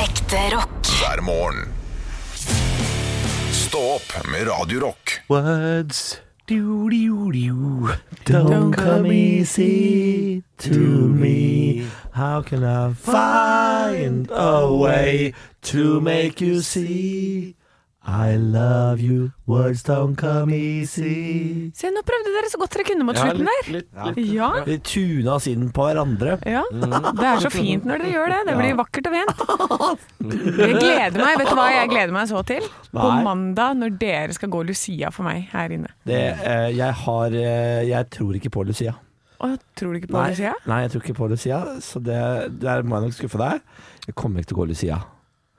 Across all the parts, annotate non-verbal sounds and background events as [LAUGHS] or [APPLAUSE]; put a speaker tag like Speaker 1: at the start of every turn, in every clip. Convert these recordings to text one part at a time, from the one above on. Speaker 1: Ekte rock.
Speaker 2: hver morgen. Stå opp med Radio Rock.
Speaker 3: Words do, do, do. Don't come easy to me. How can I find a way to make you see? I love you. Words don't come easy.
Speaker 4: Se, nå prøvde dere så godt dere kunne mot slutten der. Ja.
Speaker 3: Vi tuna oss inn på hverandre.
Speaker 4: Ja,
Speaker 3: Mhm.
Speaker 4: Det er så fint når dere gjør det. Det blir vakkert og pent.
Speaker 3: [LAUGHS]
Speaker 4: Jeg gleder meg. Vet du hva jeg gleder meg så til? På
Speaker 3: Nei.
Speaker 4: mandag, når dere skal gå Lucia for meg her inne.
Speaker 3: Det, eh, jeg har eh, Jeg tror ikke på Lucia.
Speaker 4: Å, tror du ikke på Lucia?
Speaker 3: nei, jeg tror ikke på Lucia, så det, der må jeg nok skuffe deg. Jeg kommer ikke til å gå Lucia.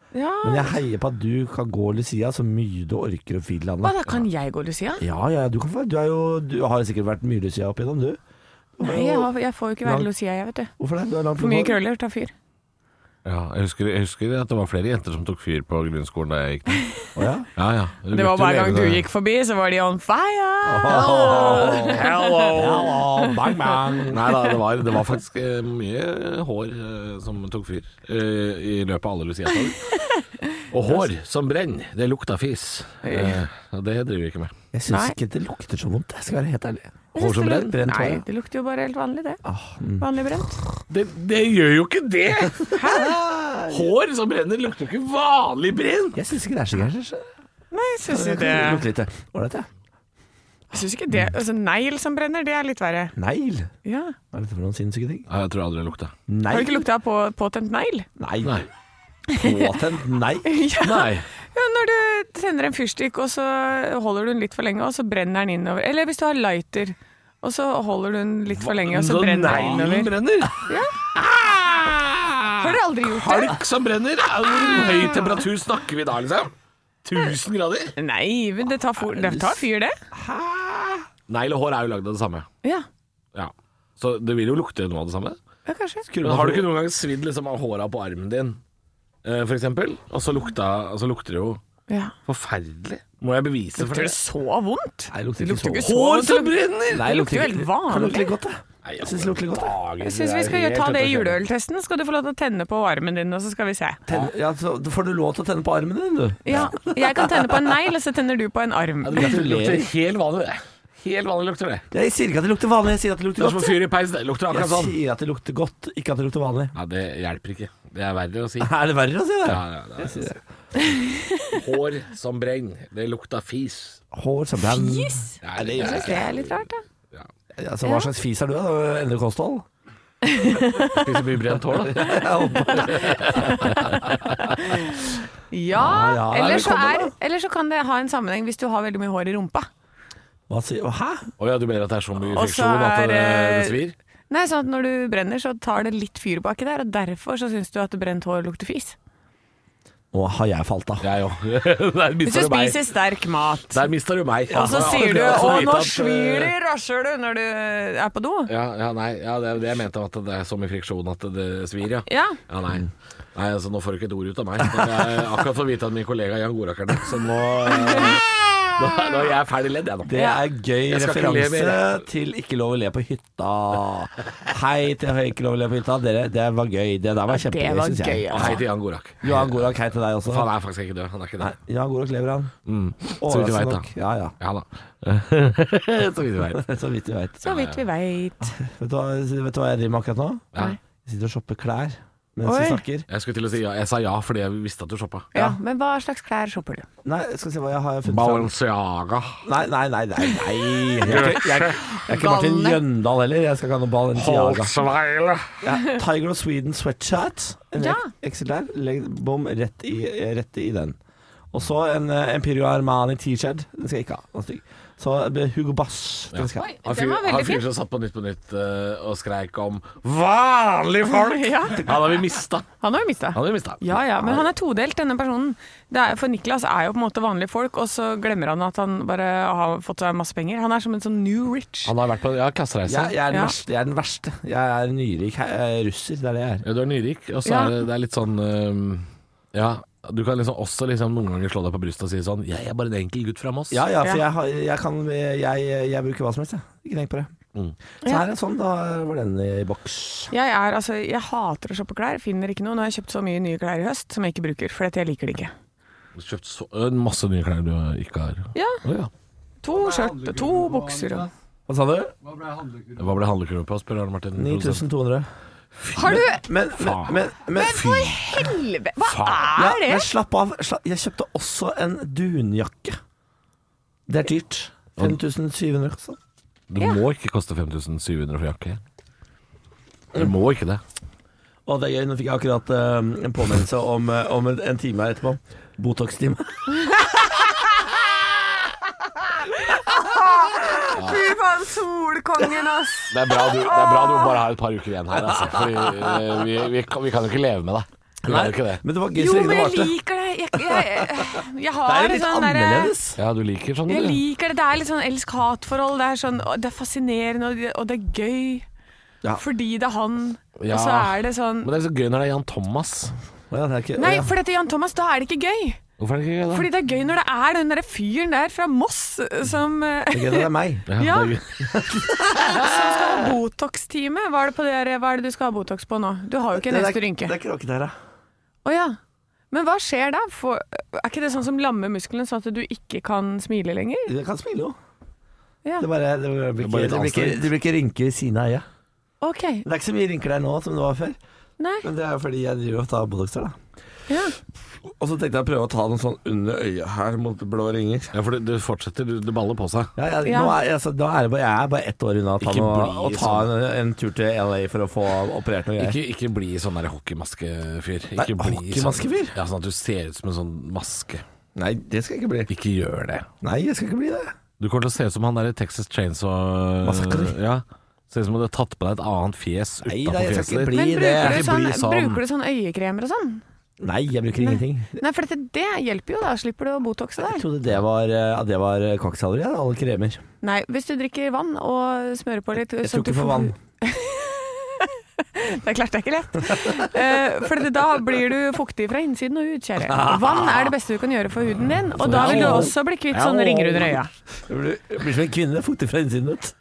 Speaker 4: Ja.
Speaker 3: Men jeg heier på at du kan gå Lucia så mye du orker å
Speaker 4: Hva
Speaker 3: Finlandet.
Speaker 4: da, kan jeg gå Lucia?
Speaker 3: Ja, ja, du, kan få, du, er jo, du har sikkert vært mye Lucia opp igjennom, du.
Speaker 4: Nei, jeg, har, jeg får jo ikke være Lucia, jeg, vet du.
Speaker 3: Hvorfor det? Du er langt
Speaker 4: For mye
Speaker 3: unna.
Speaker 4: krøller tar fyr.
Speaker 5: Ja, jeg husker, jeg husker at det var flere jenter som tok fyr på grunnskolen da jeg gikk der.
Speaker 3: Å, ja.
Speaker 5: Ja, ja.
Speaker 4: [LAUGHS]
Speaker 5: Du
Speaker 4: Det var
Speaker 5: brukte
Speaker 4: hver gang du
Speaker 5: levende-
Speaker 4: gikk forbi, så var de on fire!
Speaker 3: Hello. Bang, bang.
Speaker 5: Nei da, det var, det var faktisk eh, mye hår eh, som tok fyr eh, i løpet av alle Lucia-tog. Og hår som brenner, det lukta fis. Eh, og det driver vi ikke med.
Speaker 3: Jeg
Speaker 4: Nei.
Speaker 3: syns ikke det lukter så vondt, jeg skal være helt ærlig.
Speaker 5: Hår som brenner?
Speaker 3: Brent
Speaker 4: Nei,
Speaker 3: hår.
Speaker 4: det lukter jo bare helt vanlig, det.
Speaker 3: mm.
Speaker 4: Vanlig brent.
Speaker 5: Det, det gjør jo ikke det! Hår som brenner lukter jo ikke vanlig brenn!
Speaker 3: Jeg syns ikke det er så gærent. jeg.
Speaker 4: Nei, jeg syns
Speaker 3: Det
Speaker 4: ikke det.
Speaker 3: kan lukte litt. Ålreit, ja.
Speaker 4: Jeg synes ikke det. Altså, negl som brenner, det er litt verre.
Speaker 3: Negl.
Speaker 4: Ja.
Speaker 3: Hva er dette for noen sinnssyke ting?
Speaker 5: Ja, jeg tror aldri det lukta.
Speaker 3: Negl.
Speaker 4: Har du ikke lukta på påtent negl?
Speaker 3: Nei.
Speaker 5: Nei.
Speaker 3: Påtent
Speaker 4: [LAUGHS]
Speaker 3: negl.
Speaker 4: ja.
Speaker 5: Nei.
Speaker 4: ja, når du tenner en fyrstikk, og så holder du den litt for lenge, og så brenner den innover. Eller hvis du har lighter, og så holder du den litt for lenge, og så brenner den
Speaker 5: neglen
Speaker 4: innover.
Speaker 5: brenner? Ah!
Speaker 4: Har dere aldri gjort det?
Speaker 5: Kalk som brenner? Er det Hvor høy temperatur snakker vi da, liksom? 1000 grader?
Speaker 4: Nei, men det tar, for, det tar fyr, det.
Speaker 5: Negl og hår er jo lagd av det samme.
Speaker 4: Ja,
Speaker 5: Ja. Så det vil jo lukte noe av det samme.
Speaker 4: ja kanskje.
Speaker 5: Men har du ikke noen gang svidd liksom av håra på armen din, eh, for eksempel? Og så, lukta, og så lukter det jo
Speaker 4: Ja.
Speaker 5: forferdelig. Må jeg bevise for
Speaker 4: Lukter
Speaker 5: det?
Speaker 4: det så vondt?
Speaker 3: Nei, det lukter
Speaker 4: Det
Speaker 3: ikke
Speaker 4: lukter
Speaker 3: så vondt.
Speaker 4: ikke så
Speaker 5: Hår
Speaker 4: vondt.
Speaker 5: som brenner!
Speaker 3: Nei, det
Speaker 4: lukter jo helt vanlig.
Speaker 3: Kan lukte litt godt, da.
Speaker 5: Nei,
Speaker 3: Jeg syns det lukter godt. da.
Speaker 5: dagen,
Speaker 4: Jeg syns vi
Speaker 5: det er
Speaker 4: skal jo ta
Speaker 5: helt ute
Speaker 4: det
Speaker 5: å
Speaker 4: i
Speaker 5: kjøre.
Speaker 4: juleøltesten. Skal du få lov til å tenne på armen din, og så skal vi se.
Speaker 3: Tenn, ja, så da får du lov til å tenne på armen din, du.
Speaker 4: Ja, jeg kan tenne på en negl, og så tenner du på en arm.
Speaker 5: Ja, Det lukter- lukter helt vanlig, det. Helt vanlig lukter det.
Speaker 3: Jeg sier ikke at det lukter vanlig, jeg sier at det
Speaker 5: Det
Speaker 3: lukter
Speaker 5: er som å
Speaker 3: godt.
Speaker 5: fyre i peis, det lukter
Speaker 3: Jeg
Speaker 5: akkurat sånn.
Speaker 3: sier at det lukter godt, ikke at det lukter vanlig.
Speaker 5: Ja, det hjelper ikke. Det [LAUGHS] er verre å si. Ja,
Speaker 3: Er det verre å si det?
Speaker 5: ja, det er, Hår som brenner, det lukter fis.
Speaker 3: Hår som brenn. Fis?
Speaker 5: Nei, det
Speaker 4: Jeg
Speaker 5: gjør
Speaker 4: synes
Speaker 5: jeg
Speaker 4: det
Speaker 5: ikke.
Speaker 4: er litt rart, da.
Speaker 3: Altså, hva slags fis er du, da? Endre
Speaker 5: [LAUGHS]
Speaker 3: kosthold?
Speaker 5: Spiser mye brent hår, da.
Speaker 3: Ja, åpenbart.
Speaker 4: Ja,
Speaker 3: ja,
Speaker 4: eller, så
Speaker 3: velkommen,
Speaker 4: er, eller så kan det ha en sammenheng hvis du har veldig mye hår i rumpa.
Speaker 3: Hva sier Å, Hæ?
Speaker 5: Å ja, du mener at det er så mye
Speaker 4: Og så
Speaker 5: friksjon at det,
Speaker 4: er,
Speaker 5: det svir?
Speaker 4: Nei, sånn at Når du brenner, så tar det litt fyr baki der, og derfor så syns du at brent hår lukter fis.
Speaker 3: Nå har jeg falt av.
Speaker 5: Jeg òg. [LAUGHS] Der
Speaker 4: Hvis du
Speaker 5: mista du meg.
Speaker 4: spiser sterk mat,
Speaker 5: Der mista du meg.
Speaker 4: og så
Speaker 5: Ja,
Speaker 4: sier du
Speaker 5: det er
Speaker 4: 'å,
Speaker 5: så vidt
Speaker 4: nå
Speaker 5: at, eh,
Speaker 4: svir det i rasshølet' når du er på do.
Speaker 5: Ja, ja, nei, ja, det er det jeg mente, at det er så mye friksjon at det svir, ja.
Speaker 4: Ja.
Speaker 5: Ja, nei. nei, altså nå får du ikke et ord ut av meg. Men jeg har akkurat fått vite at min kollega Jan Gorakeren Så nå, eh, nå, nå er jeg ferdig ledd, jeg nå.
Speaker 3: Det er gøy
Speaker 5: Jeg skal ikke le
Speaker 3: referanse
Speaker 5: mer.
Speaker 3: til Ikke lov å le på hytta. Hei til Høy, ikke lov å le på hytta. Dere, det var gøy. Det der var
Speaker 4: Det
Speaker 3: kjempegøy,
Speaker 4: var
Speaker 3: syns
Speaker 4: gøy, altså.
Speaker 3: jeg.
Speaker 5: Og hei til Jan Gorak.
Speaker 3: Johan Gorak, hei til deg også.
Speaker 5: Han er faktisk ikke død. Han er ikke
Speaker 3: Nei,
Speaker 5: det.
Speaker 3: Johan Gorak lever, han.
Speaker 5: Mm. Så vidt du
Speaker 3: Overraskende
Speaker 5: vet, da.
Speaker 3: nok. altså, Ja, ja. [LAUGHS]
Speaker 5: [LAUGHS] Ja da. så vidt du veit.
Speaker 3: Så vidt vi veit.
Speaker 4: Så vidt vi veit.
Speaker 3: Vet du, hva, vet du hva jeg driver med akkurat nå?
Speaker 5: Ja.
Speaker 3: Jeg sitter og shopper klær mens
Speaker 4: Oi.
Speaker 3: vi snakker.
Speaker 5: Jeg skulle til å si ja. Jeg sa ja fordi jeg visste at du shoppa.
Speaker 4: Ja, men hva slags klær shopper du?
Speaker 3: Nei, jeg skal se hva jeg har funnet fram.
Speaker 5: Balenciaga.
Speaker 3: Nei, nei, nei. nei, nei. Jeg, er ikke, jeg, jeg er ikke Martin
Speaker 4: Galle.
Speaker 3: Jøndal heller. Jeg skal ikke ha noe Balenciaga.
Speaker 5: Holsweile.
Speaker 3: Ja, Tiger of Sweden sweatshirt. En
Speaker 4: Ja.
Speaker 3: XLR. Legg bom rett i, rett i den. Og så en eh, Empirio Armani t-shirt. Den skal jeg ikke ha. Den er stygg. Så eh, Hugo Bass. Den skal jeg ha.
Speaker 5: Han
Speaker 4: Den
Speaker 5: fyr,
Speaker 4: var veldig
Speaker 5: han fyr
Speaker 4: fin.
Speaker 5: som satt på Nytt på Nytt eh, og skreik om 'vanlige folk'!
Speaker 4: [LAUGHS] Ja.
Speaker 5: Han har vi mista.
Speaker 4: Han har jo mista.
Speaker 5: Han har vi mista.
Speaker 4: Ja, ja, men han er todelt, denne personen. Det er, for Niklas er jo på en måte vanlige folk, og så glemmer han at han bare har fått seg masse penger. Han er som en sånn new rich.
Speaker 5: Han har vært på ja, klassereise.
Speaker 3: Jeg, jeg, er den
Speaker 4: Ja.
Speaker 3: verste, jeg er den verste. Jeg er en nyrik eh, russer. Det er det jeg er.
Speaker 5: Ja, du er nyrik, og så
Speaker 4: Ja.
Speaker 5: er det, det er litt sånn eh, Ja, du kan liksom også liksom noen ganger slå deg på brystet og si sånn 'Jeg er bare en enkel gutt fra Moss'.
Speaker 3: Ja, ja, for
Speaker 4: Ja.
Speaker 3: jeg, har- jeg, kan, jeg, jeg, jeg bruker hva som helst, jeg. Ikke tenk på det.
Speaker 5: Mm.
Speaker 3: Så her er sånn, da var den i boks.
Speaker 4: Jeg, er, altså, jeg hater å shoppe klær, finner ikke noe. Nå har jeg kjøpt så mye nye klær i høst som jeg ikke bruker, for jeg liker det ikke.
Speaker 5: Du har kjøpt så, en masse nye klær du ikke har.
Speaker 4: Ja,
Speaker 5: Å ja.
Speaker 4: to skjørt og to bukser og
Speaker 3: Hva sa du?
Speaker 5: Hva ble handlekurven på, spør Arne Martin.
Speaker 3: 9200.
Speaker 4: Har du
Speaker 3: Men, men,
Speaker 5: Faen.
Speaker 3: men, men
Speaker 5: Fy
Speaker 4: Helvete! Hva
Speaker 3: Ja,
Speaker 4: er det?
Speaker 3: men slapp av. Slapp. Jeg kjøpte også en dunjakke. Det er dyrt. 5700, altså.
Speaker 5: Det
Speaker 4: Ja.
Speaker 5: må ikke koste 5700 for jakke. Det
Speaker 4: Mm.
Speaker 5: må ikke det.
Speaker 3: Og det er gøy, nå fikk jeg akkurat eh, en påminnelse om, eh, om en, en time her etterpå.
Speaker 5: [LAUGHS]
Speaker 3: Botox-time.
Speaker 4: Fy faen, solkongen, ass!
Speaker 5: Det er bra du, det er bra du bare har et par uker igjen her, [LAUGHS] altså. Fordi, eh, vi, vi, kan, vi kan jo ikke leve med deg. Vi kan jo ikke det.
Speaker 3: men det var gøy
Speaker 4: Jo,
Speaker 3: så lenge
Speaker 4: men
Speaker 3: det
Speaker 4: jeg
Speaker 3: varte.
Speaker 4: liker det. Jeg, jeg,
Speaker 3: [LAUGHS]
Speaker 4: jeg
Speaker 3: Det
Speaker 4: har
Speaker 3: er litt
Speaker 4: sånn derre-
Speaker 3: annerledes.
Speaker 5: Ja, du liker sånn,
Speaker 4: Jeg
Speaker 5: du.
Speaker 4: liker det. Det er litt sånn elsk-hat-forhold. Det er sånn, å, det er fascinerende, og det, og det er gøy.
Speaker 3: Ja.
Speaker 4: Fordi det er han,
Speaker 5: Ja.
Speaker 4: og så er det sånn
Speaker 5: Men det er så gøy når det er Jan Thomas.
Speaker 3: Ja, det er ikke,
Speaker 4: Nei,
Speaker 3: ja.
Speaker 4: for dette Jan Thomas, da er det ikke gøy.
Speaker 5: Hvorfor er det ikke gøy, da?
Speaker 4: Fordi det er gøy når det er den derre fyren der fra Moss eh, som eh,
Speaker 3: Det er gøy når det er meg.
Speaker 5: Ja,
Speaker 4: Ja.
Speaker 5: det er gøy.
Speaker 4: [LAUGHS] har Botox-time. Hva er det på det der- hva er det du skal ha Botox på nå? Du har jo ikke en
Speaker 3: Det er-
Speaker 4: eneste rynke.
Speaker 3: Det er kråket her, ja.
Speaker 4: Å ja. Men hva skjer da? Får- er ikke det sånn som lammer musklene, sånn at du ikke kan smile lenger?
Speaker 3: Jeg kan smile, jo.
Speaker 4: Ja.
Speaker 3: Det, bare, det, blir
Speaker 5: bare
Speaker 3: ikke,
Speaker 5: litt
Speaker 3: det, blir ikke,
Speaker 5: anstrengt.
Speaker 3: det blir ikke rynker ved siden av øyet.
Speaker 4: OK.
Speaker 3: Det er ikke så mye rynker der nå som det var før,
Speaker 4: Nei.
Speaker 3: men det er jo fordi jeg driver og tar Botox der, da.
Speaker 4: Ja.
Speaker 3: Og så tenkte jeg å prøve å ta den sånn under øyet her mot blå ringer.
Speaker 5: ja for det, det fortsetter, du- det baller på seg.
Speaker 3: Ja, jeg,
Speaker 4: Ja.
Speaker 3: Nå er, jeg- altså, da er det bare, jeg er bare ett år unna å ta,
Speaker 5: Ikke
Speaker 3: noe,
Speaker 5: bli
Speaker 3: å ta en, en tur til LA for å få operert noe greier.
Speaker 5: Ikke, ikke bli sånn der hockeymaskefyr.
Speaker 3: Nei,
Speaker 5: Ikke bli sånn-
Speaker 3: hockeymaskefyr?
Speaker 5: Ja, sånn at du ser ut som en sånn maske.
Speaker 3: Nei, det skal jeg ikke bli.
Speaker 5: Ikke gjør det.
Speaker 3: Nei, jeg skal ikke bli det.
Speaker 5: Du kommer til å se ut som han der i Texas Chainsaw
Speaker 3: Massakre.
Speaker 5: Ja. Ser ut som om du har tatt på deg et annet fjes
Speaker 3: Nei, nei, jeg
Speaker 5: utafor
Speaker 3: skal
Speaker 5: fjeset
Speaker 3: ikke
Speaker 5: ditt.
Speaker 3: bli
Speaker 4: Men
Speaker 3: det.
Speaker 4: bruker du,
Speaker 5: Ikke
Speaker 4: sånn,
Speaker 5: bli sånn.
Speaker 4: bruker du sånn øyekremer og sånn?
Speaker 3: Nei, jeg bruker ingenting.
Speaker 4: Nei, for dette, det hjelper jo da. Slipper du å botoxe
Speaker 3: Jeg
Speaker 4: der.
Speaker 3: trodde det var, ja, det var kvakksalvere, ja, alle kremer.
Speaker 4: Nei, hvis du drikker vann og smører på litt
Speaker 3: Jeg
Speaker 4: sånn
Speaker 3: tok
Speaker 4: at du
Speaker 3: ikke for
Speaker 4: får-
Speaker 3: vann.
Speaker 4: [LAUGHS] Det er klart det er ikke lett. Eh, For det- da blir du fuktig fra innsiden og ut, kjære.
Speaker 3: [LAUGHS]
Speaker 4: Vann er det beste du kan gjøre for huden din, og da vil du også bli kvitt sånne ringer under øya.
Speaker 3: Jeg blir, jeg blir som en kvinne, fuktig fra innsiden ut.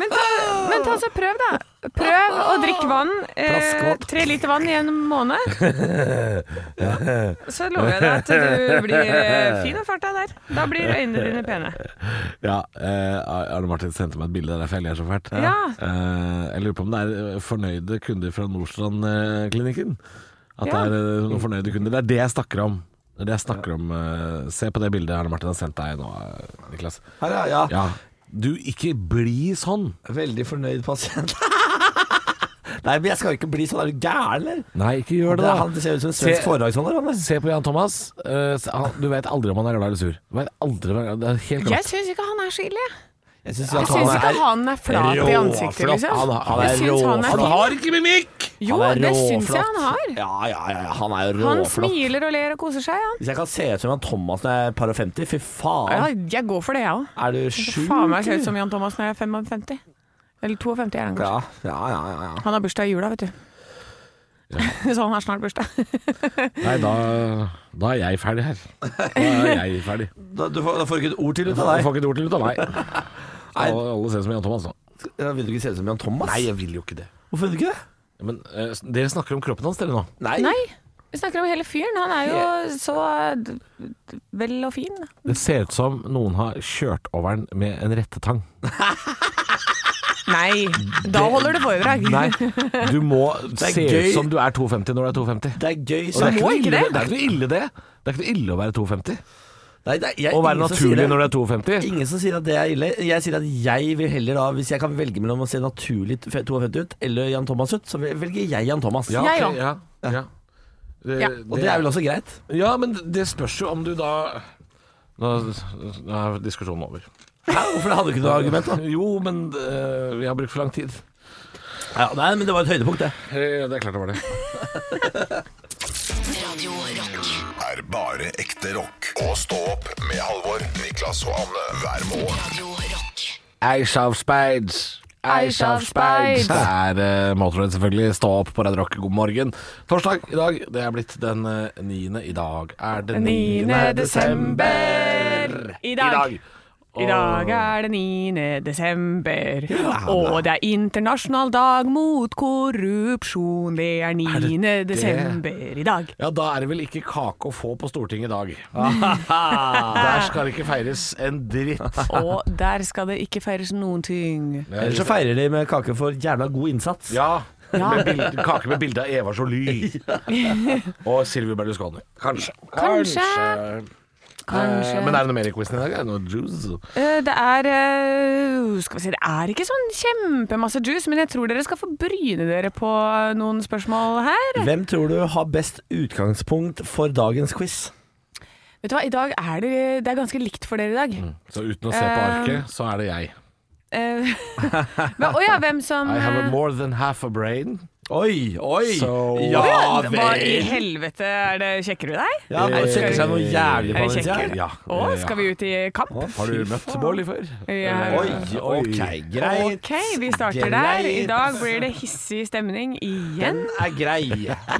Speaker 4: Men ta, men ta så prøv, da. Prøv å drikke vann. Eh,
Speaker 3: Flaskevann.
Speaker 4: tre liter vann i en måned.
Speaker 3: [LAUGHS]
Speaker 4: Så lover jeg deg at
Speaker 3: [LAUGHS]
Speaker 4: du blir eh, fin og farta der. Da blir øynene dine pene.
Speaker 5: Ja, eh, Arne Martin sendte meg et bilde, det er derfor jeg ler så fælt.
Speaker 4: Ja.
Speaker 5: Eh, jeg lurer på om det er eh, fornøyde kunder fra Nordstrand-klinikken. At
Speaker 4: Ja.
Speaker 5: det er eh, noen fornøyde kunder. Det er det jeg snakker om. Det er det jeg snakker om. eh, se på det bildet Arne Martin har sendt deg nå, eh, Niklas.
Speaker 3: Her, ja, ja.
Speaker 5: Ja. Du, ikke bli sånn!
Speaker 3: Veldig fornøyd pasient. [LAUGHS] Nei, men jeg skal ikke bli sånn. Er du gæren, eller?
Speaker 5: Nei, ikke gjør det, da.
Speaker 3: Han ser ut som en svensk
Speaker 5: Se-
Speaker 3: foredragsholder. han, altså.
Speaker 5: Se på Jan Thomas. Eh, se- han- du vet aldri om han er glad eller sur. Du vet aldri om han er glad. Det er helt
Speaker 4: Jeg
Speaker 5: klart.
Speaker 4: syns ikke han er så ille.
Speaker 3: Jeg syns
Speaker 4: Jeg syns ikke han er flat i ansiktet,
Speaker 3: råflott.
Speaker 4: liksom.
Speaker 3: Han, han
Speaker 4: Jeg
Speaker 3: er
Speaker 4: syns han er
Speaker 3: råflott.
Speaker 4: fin.
Speaker 5: har ikke mimikk!
Speaker 4: Jo,
Speaker 3: Han er
Speaker 4: det syns jeg
Speaker 3: råflott.
Speaker 4: han har.
Speaker 3: Ja, ja, ja, ja, han er
Speaker 4: Han
Speaker 3: råflott.
Speaker 4: smiler og ler og koser seg, han.
Speaker 3: Hvis jeg kan se ut som han Thomas når jeg er par og 50, fy
Speaker 4: Ja,
Speaker 3: faen.
Speaker 4: jeg går for det, jeg òg.
Speaker 3: Er du sjuk?
Speaker 4: Faen meg ser ut som Jan Thomas når jeg er 55. Eller 52 er han kanskje.
Speaker 3: Ja, ja, ja. ja, ja.
Speaker 4: Han har bursdag i jula, vet du. [LAUGHS] Så han har snart bursdag.
Speaker 5: Nei, da, da er jeg ferdig her. Da er jeg ferdig.
Speaker 3: Da, du får, da får du ikke et ord til [LAUGHS] ut av
Speaker 5: Jeg
Speaker 3: deg.
Speaker 5: får ikke et ord til ut av meg. Alle, alle ser ut som Jan Thomas nå.
Speaker 3: Ja, Vil du ikke se ut som Jan Thomas?
Speaker 5: jeg vil jo ikke det.
Speaker 3: Hvorfor vil du ikke det?
Speaker 5: Men eh, dere snakker om kroppen hans, dere nå.
Speaker 4: Nei, vi snakker om hele fyren. Han er jo så d- d- vel og fin.
Speaker 5: Det ser ut som noen har kjørt over den med en rettetang.
Speaker 4: Nei, da holder du foredrag.
Speaker 5: Nei, du
Speaker 3: [LAUGHS]
Speaker 5: må
Speaker 3: er
Speaker 5: se
Speaker 3: gøy.
Speaker 5: ut som du er 2,50 når du er 2,50.
Speaker 3: Det er gøy.
Speaker 5: Og
Speaker 3: Så,
Speaker 5: det er
Speaker 4: må
Speaker 5: noe
Speaker 4: ikke
Speaker 5: ille-
Speaker 4: det.
Speaker 5: Det er ikke noe ille det. Det er ikke noe ille å være 2,50.
Speaker 3: Nei, det er- jeg-
Speaker 5: Å være
Speaker 3: ingen som sier
Speaker 5: naturlig
Speaker 3: det.
Speaker 5: når du er 2,50.
Speaker 3: Ingen som sier at det er ille. Jeg sier at jeg vil heller da, hvis jeg kan velge mellom å se naturlig 52 ut eller Jan Thomas ut, så velger jeg Jan Thomas.
Speaker 5: Ja,
Speaker 4: Jeg
Speaker 5: ok, ja, ja. Det,
Speaker 4: Ja.
Speaker 3: Og det er vel også greit?
Speaker 5: Ja, men det spørs jo om du da Nå nå er diskusjonen over.
Speaker 3: Hæ? Hvorfor det hadde du ikke noe argument, da?
Speaker 5: [LAUGHS] Jo, men eh, vi har brukt for lang tid.
Speaker 3: Ja, nei, men det var et høydepunkt, det.
Speaker 5: Eh, Det er klart det var det.
Speaker 1: Radio Rock.
Speaker 2: Er bare ekte rock. Og stå opp med Halvor, Niklas og Anne hver morgen.
Speaker 1: Radio Rock.
Speaker 5: Ice of Spades.
Speaker 4: Ice of Spades.
Speaker 5: Det er uh, Motorhead, selvfølgelig. Stå opp på Red Rock, god morgen. Torsdag i dag. Det er blitt den eh, niende i dag. Er det
Speaker 4: 9. desember i dag. [LAUGHS] I dag er det 9. desember, og det er internasjonal dag mot korrupsjon. Det er 9. desember i dag.
Speaker 5: Ja, da er det vel ikke kake å få på Stortinget [LAUGHS] i dag. Der skal det ikke feires en dritt.
Speaker 4: Og der skal det ikke feires noen ting.
Speaker 3: Ellers så feirer de med kake for jævla god innsats.
Speaker 5: Ja.
Speaker 4: Ja.
Speaker 5: Med bild, kake med bilde av Eva Joly og Silvio Berlusconi. Kanskje.
Speaker 4: Kanskje. Kanskje.
Speaker 5: Eh, Men er det noe mer i quizen i dag? Er det noe juice?
Speaker 4: Eh, Det er eh, Skal vi si, det er ikke sånn kjempemasse juice, men jeg tror dere skal få bryne dere på noen spørsmål her.
Speaker 3: Hvem tror du har best utgangspunkt for dagens quiz?
Speaker 4: Vet du hva, i dag er det, det er ganske likt for dere i dag.
Speaker 5: Så uten å se på arket, så er det jeg.
Speaker 4: Eh, [LAUGHS] men, å ja, hvem som
Speaker 5: I have a
Speaker 4: eh,
Speaker 5: more than half a brain.
Speaker 3: Oi, oi!
Speaker 5: Så-
Speaker 3: ja
Speaker 4: Hva i
Speaker 3: vel!
Speaker 4: helvete er det? Sjekker du deg?
Speaker 3: Ja,
Speaker 5: Eh,
Speaker 3: bare sjekker seg noe jævlig
Speaker 4: Er
Speaker 3: på
Speaker 4: det
Speaker 3: mens jeg
Speaker 4: kjekker?
Speaker 3: er.
Speaker 5: Ja.
Speaker 4: Å, skal vi ut i kamp?
Speaker 5: Har du møtt Bårli før?
Speaker 4: Ja.
Speaker 3: Oi,
Speaker 5: Oi.
Speaker 3: ok, greit.
Speaker 4: Ok, vi starter der. I dag blir det hissig stemning igjen.
Speaker 3: er [LAUGHS] grei.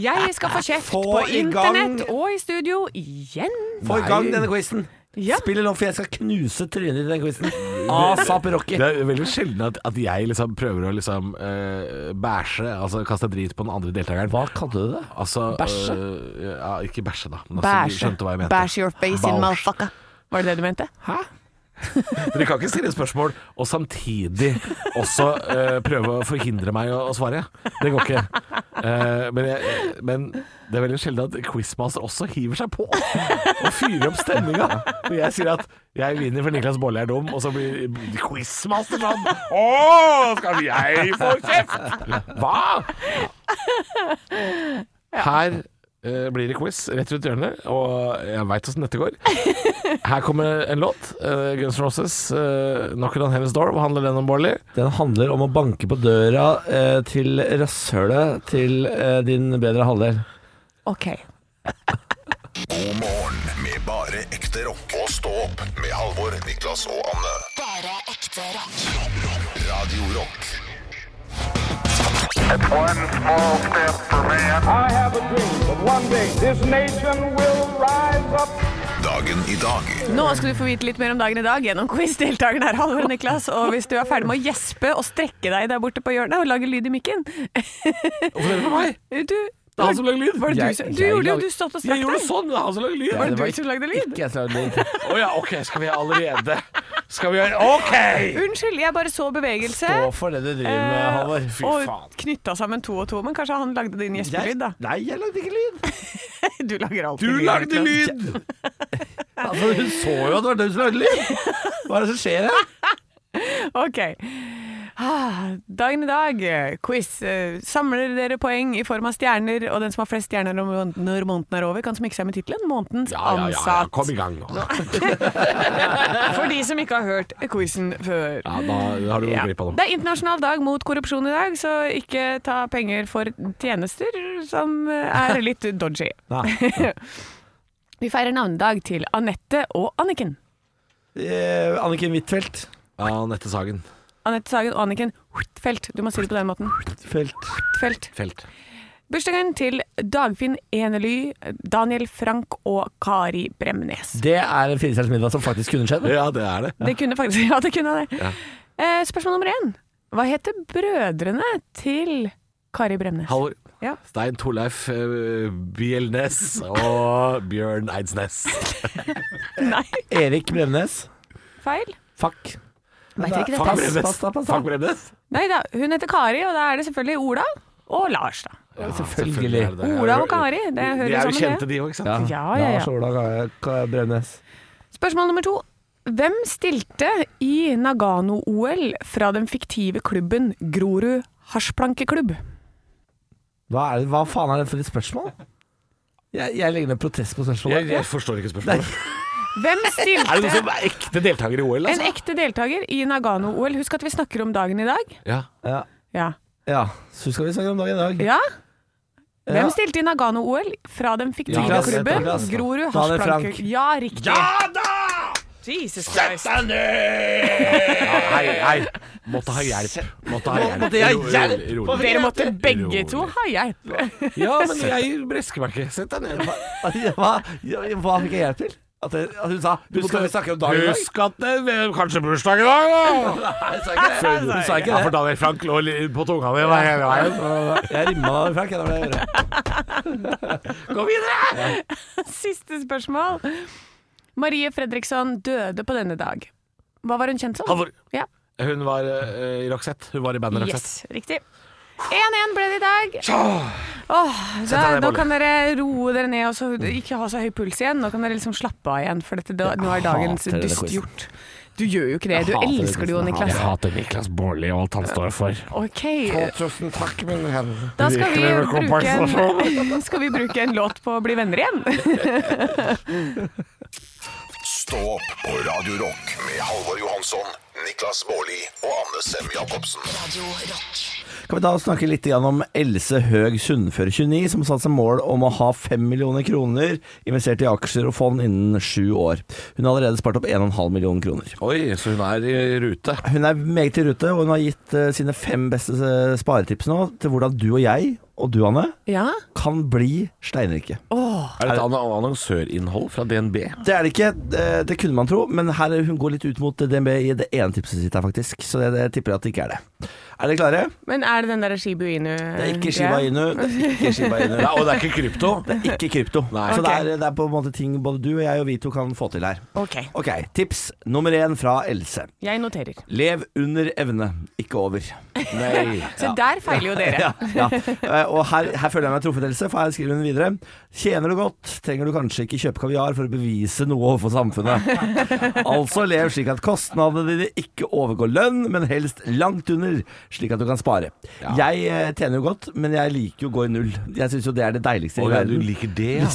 Speaker 4: Jeg skal få kjeft
Speaker 3: Få
Speaker 4: på
Speaker 3: i gang.
Speaker 4: internett og i studio igjen.
Speaker 3: Få i gang denne quizen.
Speaker 4: Ja.
Speaker 3: Spill nå, for jeg skal knuse trynet ditt i den quizen. Asap Rocky.
Speaker 5: Det er veldig sjelden at, at jeg liksom prøver å liksom eh, bæsje, altså kaste drit på den andre deltakeren.
Speaker 3: Hva kalte du det?
Speaker 5: Altså,
Speaker 3: Bæsje?
Speaker 5: eh, ja, ikke bæsje, da. Men altså, du
Speaker 4: Bæsje.
Speaker 5: skjønte hva jeg mente.
Speaker 4: Bæsj your face in
Speaker 5: Bæsj.
Speaker 4: motherfucker. Var det det du mente?
Speaker 5: Hæ? Dere kan ikke stille spørsmål og samtidig også eh, prøve å forhindre meg å, å svare. Det går ikke. Eh, men, jeg, men det er veldig sjelden at quizmaster også hiver seg på og fyrer opp stemninga. Når jeg sier at jeg vinner for Niklas Baarli er dum, og så blir quizmaster sånn Å, skal jeg få kjeft? Hva? Her eh, blir det quiz rett rundt hjørnet, og jeg veit åssen dette går. Her kommer en låt. eh, Guns N' Roses. Uh, 'Knocking on Heaven's Door'. Hva handler den om, Bårdli?
Speaker 3: Den handler om å banke på døra eh, til rasshølet til eh, din bedre halvdel.
Speaker 4: Ok.
Speaker 2: God morgen med bare ekte rock. Og stå opp med Halvor, Niklas og Anne.
Speaker 1: Bare ekte rock.
Speaker 2: Radio Rock
Speaker 6: It's one small step for man.
Speaker 7: I have a dream that one day this nation will rise up.
Speaker 2: dagen i dag.
Speaker 4: Nå skal du få vite litt mer om dagen i dag gjennom quiz. Deltakerne er Halvor og Niklas. Og hvis du er ferdig med å gjespe og strekke deg der borte på hjørnet og lage lyd i mikken [LAUGHS]
Speaker 5: Hvorfor er det for meg?
Speaker 4: Du,
Speaker 5: Det er han som lager lyd.
Speaker 4: Var det
Speaker 3: Jeg-
Speaker 4: du, som- du
Speaker 3: jeg
Speaker 4: gjorde det
Speaker 3: lag-
Speaker 4: jo, du satt og
Speaker 5: Jeg
Speaker 4: snakket
Speaker 5: gjorde det sånn, men det er han som lager lyd.
Speaker 4: Var
Speaker 5: Å
Speaker 4: det du som lagde lyd?
Speaker 3: Ikke jeg som lagde lyd.
Speaker 5: ja, ok. Skal vi allerede Skal vi gjøre OK!
Speaker 4: Unnskyld, jeg bare så bevegelse.
Speaker 3: Stå for det du driver med,
Speaker 4: eh,
Speaker 3: Halvor.
Speaker 4: og knytta sammen to og to, men kanskje han lagde din gjespelyd, da.
Speaker 3: nei, jeg lagde ikke lyd.
Speaker 4: [LAUGHS] Du lager alltid
Speaker 5: Du lagde
Speaker 4: Niklas.
Speaker 5: lyd!
Speaker 3: [LAUGHS] Altså, Hun så jo at det var du som lagde lyd. Hva er det som skjer her?
Speaker 4: Ok. Ah, Dagen i dag, eh, quiz. Eh, Samler dere poeng i form av stjerner, og den som har flest stjerner om måneden- når måneden er over, kan smykke seg med tittelen 'Månedens
Speaker 5: Ja, ja, ja, ja.
Speaker 4: ansatt'.
Speaker 5: Kom i gang nå.
Speaker 4: For de som ikke har hørt quizen før.
Speaker 5: Ja, da har du
Speaker 4: Ja.
Speaker 5: gått glipp av
Speaker 4: Det
Speaker 5: noe.
Speaker 4: er internasjonal dag mot korrupsjon i dag, så ikke ta penger for tjenester som er litt dodgy. Vi feirer navnedag til Anette og Anniken.
Speaker 3: Eh, Anniken Huitfeldt.
Speaker 5: Anette Sagen.
Speaker 4: Anette Sagen og Anniken Huitfeldt. Du må si det på den måten.
Speaker 3: Huitfeldt.
Speaker 4: Huitfeldt.
Speaker 5: Felt.
Speaker 4: Bursdagen til Dagfinn Enely, Daniel Frank og Kari Bremnes.
Speaker 3: Det er en firestjerners middag som faktisk kunne skjedd.
Speaker 5: Ja, det er det.
Speaker 4: Det kunne faktisk [LAUGHS] Ja, det kunne det. Eh, spørsmål nummer én. Hva heter brødrene til Kari Bremnes?
Speaker 5: Halvor.
Speaker 4: Ja.
Speaker 5: Stein Torleif eh, Bjelnes og Bjørn
Speaker 4: [LAUGHS]
Speaker 5: Eidsnes.
Speaker 4: Nei,
Speaker 3: Erik Bremnes.
Speaker 4: feil.
Speaker 3: Fuck.
Speaker 4: Vet dere ikke
Speaker 5: Fuck
Speaker 4: dette?
Speaker 5: Bremnes.
Speaker 3: Pass, pass, pass,
Speaker 5: Fuck Bremnes.
Speaker 4: Nei da, hun heter Kari, og da er det selvfølgelig Ola og Lars, da.
Speaker 5: Ja,
Speaker 3: Selvfølgelig.
Speaker 5: er det det.
Speaker 4: Ola og Kari, det hører
Speaker 5: De er jo
Speaker 4: sammen,
Speaker 5: kjente,
Speaker 4: det.
Speaker 5: de òg, ikke sant?
Speaker 4: Ja, ja, ja.
Speaker 3: Lars Ola Ga- Ga- Bremnes.
Speaker 4: Spørsmål nummer to. Hvem stilte i Nagano-OL fra den fiktive klubben Grorud Hasjplankeklubb?
Speaker 3: Hva, er det, hva faen er det for et spørsmål? Jeg, jeg legger ned protest på spørsmålet.
Speaker 5: Jeg, jeg forstår ikke spørsmålet.
Speaker 4: Hvem
Speaker 5: [LAUGHS] Er det noen
Speaker 4: stilte
Speaker 5: som er ekte deltaker i OL?
Speaker 4: en
Speaker 5: Altså?
Speaker 4: ekte deltaker i Nagano-OL? Husk at vi snakker om dagen i dag.
Speaker 5: Ja.
Speaker 3: Ja,
Speaker 4: Ja.
Speaker 3: ja. Så skal vi snakke om dagen i dag.
Speaker 4: ja.
Speaker 3: Ja.
Speaker 4: Hvem stilte i Nagano-OL fra den fiktive
Speaker 3: Niklas,
Speaker 5: altså,
Speaker 4: klubben
Speaker 3: Niklas.
Speaker 4: Grorud
Speaker 3: Daniel Frank.
Speaker 4: Hasjplanke... Ja, riktig. Jesus Christ.
Speaker 5: Hei, hei. Måtte ha hjelp. Måtte ha hjelp.
Speaker 3: Måtte jeg
Speaker 5: Ro-
Speaker 3: hjelp?
Speaker 5: rolig, rolig.
Speaker 4: Dere måtte begge
Speaker 5: Rolig.
Speaker 4: to ha hjelp.
Speaker 5: Ja, men jeg bresker meg ikke. Sett deg ned.
Speaker 3: Altså, Hva, ja, hva fikk jeg hjelp til? At, det, at hun sa Husk at vi snakker om dagen i dag.
Speaker 5: Husk at det er kanskje bursdag i [LAUGHS] dag, da!
Speaker 3: Nei, hun sa ikke det. Hun sa
Speaker 5: Ja,
Speaker 3: ikke
Speaker 5: for
Speaker 3: det.
Speaker 5: Daniel Frank lå li- på tunga di da hele veien.
Speaker 3: Jeg rimma deg, Frank. Det var det jeg gjorde.
Speaker 5: Gå videre!
Speaker 4: [LAUGHS] Siste spørsmål. Marie Fredriksson døde på denne dag. Hva var hun kjent som?
Speaker 5: Halvor.
Speaker 4: Ja.
Speaker 5: Hun var eh, i Roxette. Hun var i bandet Roxette.
Speaker 4: Yes, riktig. 1-1 ble det i dag. Åh, da,
Speaker 5: deg ned,
Speaker 4: nå
Speaker 5: Bolle.
Speaker 4: kan dere roe dere ned og så, ikke ha så høy puls igjen. Nå kan dere liksom slappe av igjen, for dette, da, nå er dagens
Speaker 3: hater denne
Speaker 4: dyst
Speaker 3: quizen.
Speaker 4: gjort. Du gjør jo ikke det. Du elsker det jo, Niklas.
Speaker 5: hater Niklas Baarli og alt han står for.
Speaker 4: Ok,
Speaker 5: Tusen takk, min venn.
Speaker 4: da skal vi,
Speaker 5: Virkelig med
Speaker 4: bruke
Speaker 5: kompensasjon.
Speaker 4: en, [LAUGHS] skal vi bruke en låt på å bli venner igjen.
Speaker 2: Stå opp på Radio Rock med Halvor Johansson, Niklas Baarli og Anne Sem Jacobsen.
Speaker 3: Kan vi da snakke litt grann om Else Høeg Sundfør 29, som satte seg mål om å ha 5 millioner kroner investert i aksjer og fond innen sju år. Hun har allerede spart opp 1,5 millioner kroner.
Speaker 5: Oi, så hun er i rute.
Speaker 3: Hun er meget i rute, og hun har gitt eh, sine fem beste eh, sparetips nå til hvordan du og jeg, og du Anne,
Speaker 4: Ja,
Speaker 3: kan bli steinrike.
Speaker 5: Er det et annet annonsørinnhold fra DNB?
Speaker 3: Det er det ikke, eh, det kunne man tro, men her hun går litt ut mot DNB i det ene tipset sitt her, faktisk. Så det, det tipper jeg at det ikke er det. Er dere klare?
Speaker 4: men er det den der Shibu Inu?
Speaker 3: Det er
Speaker 4: Eh,
Speaker 3: ikke Shiba Inu. Det er ikke Shiba Inu.
Speaker 5: Nei, og det er ikke krypto?
Speaker 3: Det er ikke krypto. Så det, er, det er på en måte ting både du og jeg og vi to kan få til her.
Speaker 4: Ok,
Speaker 3: Ok, tips nummer én fra Else.
Speaker 4: jeg noterer.
Speaker 3: Lev under evne, ikke over. Nei.
Speaker 4: Så der feiler jo
Speaker 5: [LAUGHS]
Speaker 4: dere.
Speaker 3: [LAUGHS] Ja, ja. Eh, Og her, her føler jeg meg truffet, Else, for her skriver hun videre. Tjener du godt, trenger du kanskje ikke kjøpe kaviar for å bevise noe overfor
Speaker 5: [LAUGHS]
Speaker 3: samfunnet. Altså lev slik at kostnadene dine ikke overgår lønn, men helst langt under, slik at du kan spare. Jeg eh, tjener jo godt, men jeg liker jo å gå i null. Jeg syns jo det er det deiligste i verden.
Speaker 5: liker det,
Speaker 3: [LAUGHS]
Speaker 5: ja?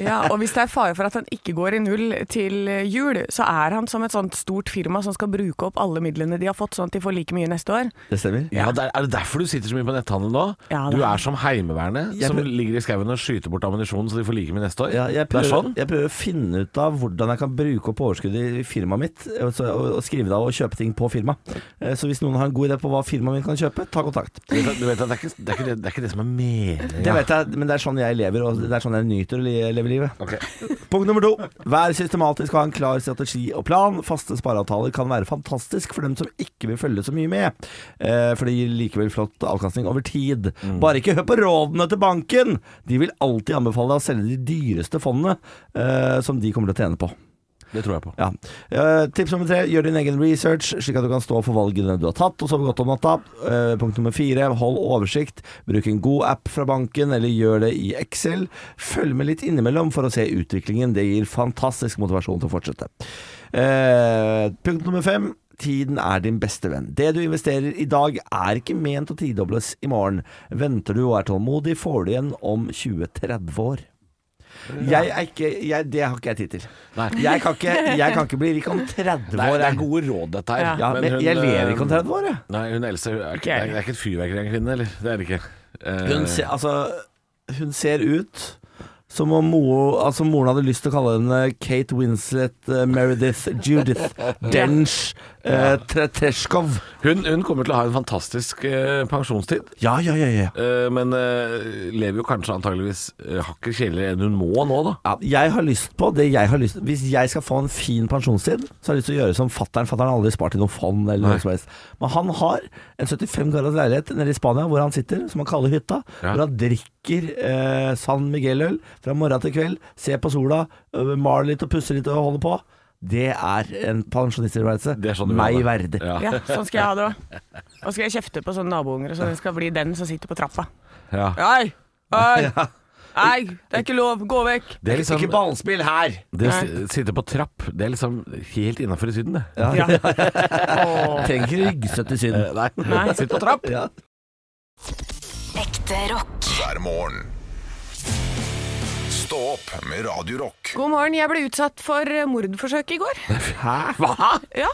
Speaker 4: Ja, og hvis det er fare for at han ikke går i null til eh, jul, så er han som et sånt stort firma som skal bruke opp alle midlene de har fått, sånn at de får like mye neste år.
Speaker 3: Det stemmer.
Speaker 5: Ja, der, Er det derfor du sitter så mye på netthandel nå?
Speaker 4: Ja, det
Speaker 5: du
Speaker 4: er-
Speaker 5: er som Heimevernet,
Speaker 3: Jeg
Speaker 5: som
Speaker 3: prøv-
Speaker 5: ligger i skauen og skyter bort ammunisjon så de får like mye neste år?
Speaker 3: Ja, jeg,
Speaker 5: det
Speaker 3: prøver,
Speaker 5: er
Speaker 3: [LAUGHS]
Speaker 5: sånn?
Speaker 3: jeg prøver å finne ut av hvordan jeg kan bruke opp overskuddet i firmaet mitt, og, så, og, og skrive det av og kjøpe ting på firmaet. Eh, Så hvis noen har en god idé på hva firmaet mitt kan kjøpe, ta kontakt.
Speaker 5: Du vet, at- du vet at det er, ikke, det, er ikke det, det er ikke det som er meningen.
Speaker 3: Det vet jeg, men det er sånn jeg lever, og det er sånn jeg nyter å li- leve livet.
Speaker 5: Ok.
Speaker 3: Punkt nummer to. Vær systematisk og ha en klar strategi og plan. Faste spareavtaler kan være fantastisk for dem som ikke vil følge så mye med, eh, for det gir likevel flott avkastning over tid.
Speaker 5: Mm.
Speaker 3: Bare ikke hør på rådene til banken! De vil alltid anbefale deg å selge de dyreste fondene eh, som de kommer til å tjene på.
Speaker 5: Det tror jeg på.
Speaker 3: Ja. Eh, tips nummer tre, gjør din egen research, slik at du kan stå for valgene du har tatt, og sove godt om natta. Eh, punkt nummer fire, hold oversikt. Bruk en god app fra banken, eller gjør det i Excel. Følg med litt innimellom for å se utviklingen. Det gir fantastisk motivasjon til å fortsette. Eh, punkt nummer fem. Tiden er din beste venn. Det du investerer i dag, er ikke ment å tidobles i morgen. Venter du og er tålmodig, får du igjen om 20-30 år. Jeg er ikke, jeg, det har ikke jeg tid til.
Speaker 5: Nei.
Speaker 3: Jeg kan, ikke, jeg kan ikke bli rik om 30
Speaker 5: Det er,
Speaker 3: år.
Speaker 5: det er gode råd, dette her.
Speaker 3: Ja, men
Speaker 5: hun,
Speaker 3: jeg lever
Speaker 5: eh,
Speaker 3: ikke om 30 år, jeg.
Speaker 5: Nei, hun Else hun er ikke,
Speaker 4: Ikke
Speaker 5: det,
Speaker 4: jeg.
Speaker 5: er, det er ikke et fyrverkeri av en kvinne, eller? Det er det ikke. Eh,
Speaker 3: Hun ser, altså, hun ser ut som om mo, altså, moren hadde lyst til å kalle henne Kate Winslet, eh, Meredith, Judith, [LAUGHS] Dench, eh, Tre- Treshkov.
Speaker 5: hun, hun kommer til å ha en fantastisk eh, pensjonstid,
Speaker 3: Ja, ja, ja, ja.
Speaker 5: eh, men eh, lever jo kanskje antageligvis uh, hakket kjedeligere enn hun må nå, da.
Speaker 3: Ja, jeg har lyst på det jeg har lyst Hvis jeg skal få en fin pensjonstid, så har jeg lyst til å gjøre som fattern. Fattern har aldri spart i noe fond eller
Speaker 5: Nei.
Speaker 3: noe som helst. Men han har en 75 garras leilighet nede i Spania hvor han sitter, som han kaller hytta.
Speaker 5: Ja.
Speaker 3: Hvor han drikker eh, San Miguel-øl fra morgen til kveld, ser på sola, øh, maler litt og pusser litt og holder på. Det er en pensjonisttilværelse.
Speaker 5: Det er sånn du vil
Speaker 3: Meg
Speaker 5: ha
Speaker 3: verdig.
Speaker 5: Ja.
Speaker 4: Ja, sånn skal jeg ha det òg.
Speaker 5: [LAUGHS]
Speaker 4: Og skal jeg kjefte på sånne nabounger, så det skal bli den som sitter på trappa.
Speaker 5: Ja.
Speaker 4: Nei, nei, nei, det er ikke lov, gå vekk.
Speaker 5: Det er liksom
Speaker 3: Ikke ballspill her!
Speaker 5: Det å si- sitte på trapp, det er liksom helt innafor i Syden, det.
Speaker 4: Ja. Åh.
Speaker 3: Trenger ikke ryggstøtte i Syden.
Speaker 5: [LAUGHS] Nei.
Speaker 4: Nei.
Speaker 5: Sitt på trapp!
Speaker 3: Ja.
Speaker 1: Ekte rock.
Speaker 2: hver morgen. Stå opp med Radio Rock.
Speaker 4: God morgen, jeg ble utsatt for eh, mordforsøk i går.
Speaker 5: Hva?!
Speaker 4: Ja,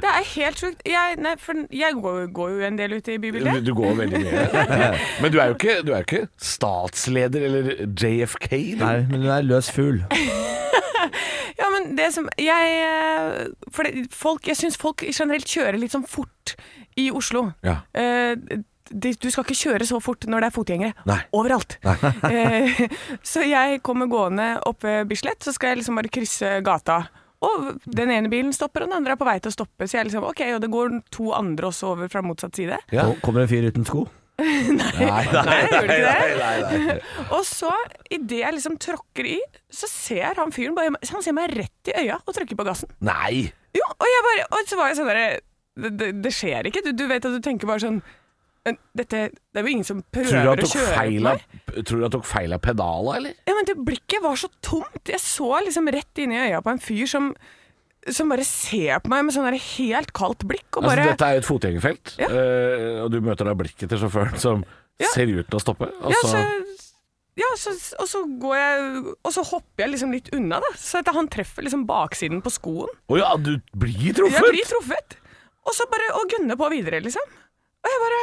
Speaker 4: det er helt sjukt. Jeg, nei, for jeg går, går jo en del ute i bybildet.
Speaker 5: Du går veldig
Speaker 3: [LAUGHS]
Speaker 5: mye. Men du er jo ikke, du er jo ikke statsleder eller JFK. du.
Speaker 3: Nei, men hun er løs fugl.
Speaker 4: Ja, men det som Jeg eh, For det, folk, jeg syns folk generelt kjører litt sånn fort i Oslo.
Speaker 5: Ja.
Speaker 4: Eh, de- Du skal ikke kjøre så fort når det er fotgjengere.
Speaker 3: Nei.
Speaker 4: Overalt. [LAUGHS] Eh, så jeg kommer gående opp ved Bislett, så skal jeg liksom bare krysse gata. Og den ene bilen stopper, og den andre er på vei til å stoppe. Så jeg liksom, ok, og det går to andre også over fra motsatt
Speaker 3: [LAUGHS]
Speaker 4: side.
Speaker 5: Ja.
Speaker 3: Nå Kommer en fyr uten sko? nei,
Speaker 4: Nei, gjorde ikke det?
Speaker 3: nei, nei.
Speaker 4: [LAUGHS] Og så, idet jeg liksom tråkker i, så ser han fyren bare Han ser meg rett i øya og trykker på gassen.
Speaker 3: Nei.
Speaker 4: Jo, og jeg bare Og så var jeg sånn derre det, det, det skjer ikke. Du, du vet at du tenker bare sånn «Men Dette Det er jo ingen som
Speaker 5: Tror du
Speaker 4: prøver
Speaker 5: han
Speaker 4: å
Speaker 5: tok
Speaker 4: kjøre på
Speaker 5: feil
Speaker 4: meg.
Speaker 5: av, tror du han tok feil av pedala, eller?
Speaker 4: Ja, men det blikket var så tomt. Jeg så liksom rett inn i øya på en fyr som som bare ser på meg med sånn der helt kaldt blikk og bare
Speaker 5: Altså, dette er jo et fotgjengerfelt,
Speaker 4: Ja.
Speaker 5: eh, og du møter da blikket til sjåføren som
Speaker 4: Ja.
Speaker 5: ser ut til å stoppe. Og
Speaker 4: Ja,
Speaker 5: så,
Speaker 4: så, ja så, og så går jeg Og så hopper jeg liksom litt unna, da. Så at han treffer liksom baksiden på skoen.
Speaker 5: Å ja, du blir
Speaker 4: Jeg
Speaker 5: truffet!
Speaker 4: blir truffet. Og så bare å gunne på videre, liksom. Og jeg bare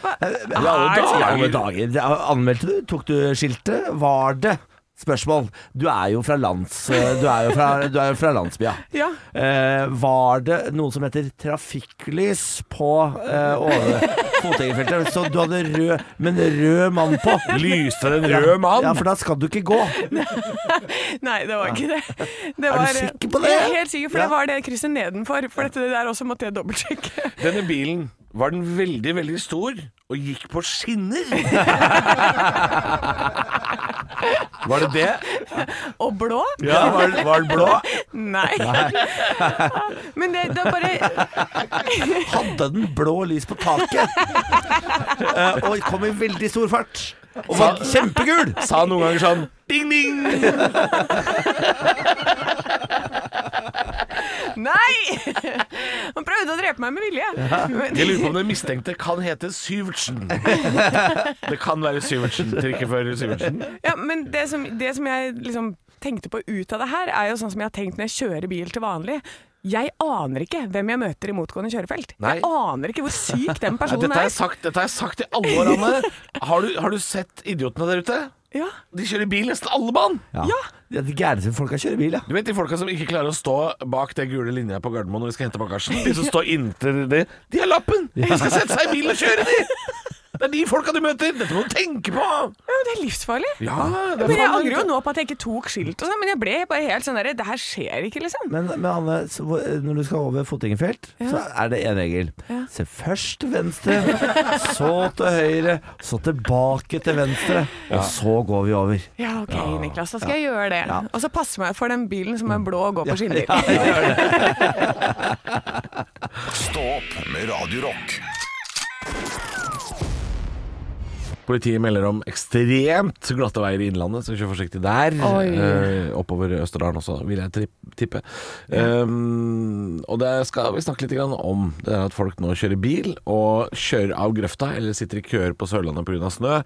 Speaker 3: Men i alle
Speaker 4: Nei,
Speaker 3: dager.
Speaker 4: så-
Speaker 3: alle dager. Det- Anmeldte du? Tok du skiltet? Var det? Spørsmål. Du er jo fra lands... Du er jo fra, du er jo fra
Speaker 5: [LAUGHS]
Speaker 3: landsbya.
Speaker 4: Ja.
Speaker 3: Eh, var det noe som heter trafikklys på eh, over- fotgjengerfeltet? Så du hadde rød, men rød mann på.
Speaker 5: Lyste den rød mann?
Speaker 3: Ja, for da skal du ikke gå.
Speaker 4: Nei, det var ikke det. det
Speaker 3: du
Speaker 4: var,
Speaker 3: sikker på det?
Speaker 4: Jeg er helt sikker, for
Speaker 3: Ja.
Speaker 4: det var det krysset nedenfor. For dette der også måtte jeg
Speaker 5: [LAUGHS]
Speaker 4: dobbeltsjekke.
Speaker 5: Denne bilen var den veldig, veldig stor og gikk på
Speaker 3: [LAUGHS]
Speaker 5: skinner. var det det?
Speaker 4: Og blå?
Speaker 3: Ja, var, den- var den blå?
Speaker 4: Nei. [LAUGHS] Men det, det er bare
Speaker 3: Hadde den blå lys på
Speaker 5: [LAUGHS]
Speaker 3: taket? Eh, og kom i veldig stor fart. Og var kjempegul!
Speaker 5: Sa han noen ganger sånn ding, ding.
Speaker 4: Nei! Han prøvde å drepe meg med vilje. [LAUGHS] Men-
Speaker 5: Jeg lurer på om den mistenkte kan hete
Speaker 4: [LAUGHS]
Speaker 5: Syvertsen. Det kan være Syvertsen, trikkefører Syvertsen.
Speaker 4: Ja, men det som, det som jeg liksom tenkte på ut av det her, er jo sånn som jeg har tenkt når jeg kjører bil til vanlig. Jeg aner ikke hvem jeg møter i motgående kjørefelt.
Speaker 5: Nei.
Speaker 4: Jeg aner ikke hvor syk den
Speaker 5: Nei,
Speaker 4: personen
Speaker 5: dette har
Speaker 4: er.
Speaker 5: jeg sagt, dette har jeg sagt i alle år, Anne. Har du, har du sett idiotene der ute?
Speaker 4: Ja.
Speaker 5: De kjører bil nesten alle mann.
Speaker 3: Ja. Det er de gærneste folka kjører bil, ja.
Speaker 5: Du vet de folka som ikke klarer å stå bak det gule linja på Gardermoen når de skal hente bagasjen? De
Speaker 4: [LAUGHS]
Speaker 5: som står inntil de De har lappen! De skal sette seg i bilen og kjøre, de! Det er de folka du møter! Dette må du tenke på!
Speaker 4: ja, det er livsfarlig.
Speaker 5: Ja, det er
Speaker 4: Men jeg
Speaker 5: faen-
Speaker 4: angrer jo nå på at jeg ikke tok skilt og sånn, men jeg ble bare helt sånn derre Det her skjer ikke, liksom.
Speaker 3: Men, men Anne, så hvor- eh, når du skal over fotgjengerfelt, så er det en regel. Se først til venstre, så til høyre, så tilbake til venstre, og så går vi over.
Speaker 4: Ja, OK, Niklas, da skal jeg gjøre det. Og så passe meg for den bilen som er blå og går på skinner.
Speaker 2: Stå opp med Radio Rock.
Speaker 5: Politiet melder om ekstremt glatte veier i Innlandet, så kjør forsiktig der.
Speaker 4: Oi.
Speaker 5: Eh, oppover Østerdalen også, vil jeg tripp- tippe. Um, og det skal vi snakke litt grann om. Det er at folk nå kjører bil og kjører av grøfta, eller sitter i køer på Sørlandet pga. snø,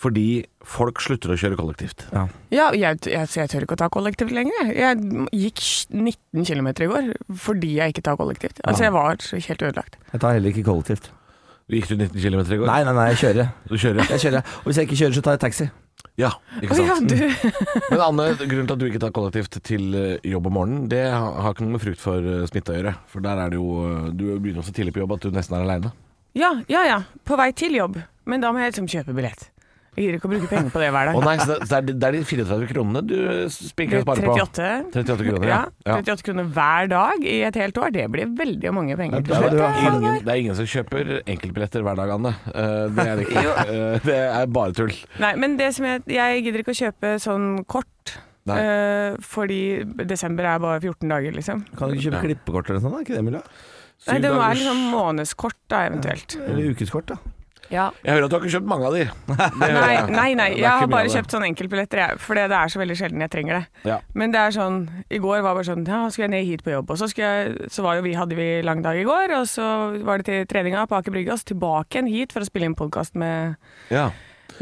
Speaker 5: fordi folk slutter å kjøre kollektivt.
Speaker 4: Ja, jeg, jeg, så jeg tør ikke å ta kollektivt lenger. Jeg gikk 19 km i går fordi jeg ikke tar kollektivt. Altså, jeg var så helt ødelagt.
Speaker 3: Jeg tar heller ikke kollektivt.
Speaker 5: Gikk du 19 km i går?
Speaker 3: Nei, nei, nei, jeg kjører.
Speaker 5: Du kjører?
Speaker 3: Jeg kjører. Og hvis jeg ikke kjører, så tar jeg taxi.
Speaker 5: Ja, ikke
Speaker 4: Å
Speaker 5: sant?
Speaker 4: ja, du
Speaker 5: Men Anne, grunnen til at du ikke tar kollektivt til eh, jobb om morgenen, det ha- har ikke noe med frukt for eh, smitte å gjøre. For der er det jo eh, Du begynner så tidlig på jobb at du nesten er aleine.
Speaker 4: [LAUGHS] Ja, ja, ja. På vei til jobb. Men da må jeg liksom kjøpe billett. Jeg gidder ikke å bruke penger på det hver
Speaker 5: Å
Speaker 4: dag.
Speaker 5: nei, så det, så det er de- det er de 34 kronene du spinker
Speaker 4: Det
Speaker 5: og
Speaker 4: er
Speaker 5: sparer på?
Speaker 4: 38.
Speaker 5: 38 kroner,
Speaker 4: Ja,
Speaker 5: ja. ja.
Speaker 4: 38 kroner hver dag i et helt år. Det blir veldig mange
Speaker 3: Ja,
Speaker 4: penger. til
Speaker 3: du
Speaker 4: slutt.
Speaker 3: har-
Speaker 5: Det er Ingen, det er ingen som kjøper enkeltbilletter hver dag, Anne. Eh, det er
Speaker 4: [LAUGHS]
Speaker 5: det ikke. Eh, det er bare tull.
Speaker 4: Nei, men det som jeg, jeg gidder ikke å kjøpe sånn kort.
Speaker 5: Nei.
Speaker 4: eh, fordi desember er bare 14 dager, liksom.
Speaker 3: Kan du ikke kjøpe klippekort eller sånn, da? Ikke det, Emilie?
Speaker 4: Nei,
Speaker 5: Syv
Speaker 4: det må
Speaker 5: dagers-
Speaker 4: være liksom månedskort, da, eventuelt.
Speaker 3: Eller ukeskort, da.
Speaker 4: Ja.
Speaker 5: Jeg hører at du har ikke kjøpt
Speaker 4: [LAUGHS]
Speaker 5: mange av de.
Speaker 4: Nei, nei, nei.
Speaker 5: Det er
Speaker 4: jeg
Speaker 5: ikke
Speaker 4: har
Speaker 5: mye
Speaker 4: bare
Speaker 5: av det.
Speaker 4: kjøpt sånn enkeltbilletter, jeg. For det er så veldig sjelden jeg trenger det.
Speaker 5: Ja.
Speaker 4: Men det er sånn, i går var bare sånn, ja, skulle jeg ned hit på jobb, og så, skulle jeg, så var jo vi, hadde vi lang dag i går, og så var det til treninga på Aker Brygge, og så tilbake igjen hit for å spille inn podkast med,
Speaker 5: Ja.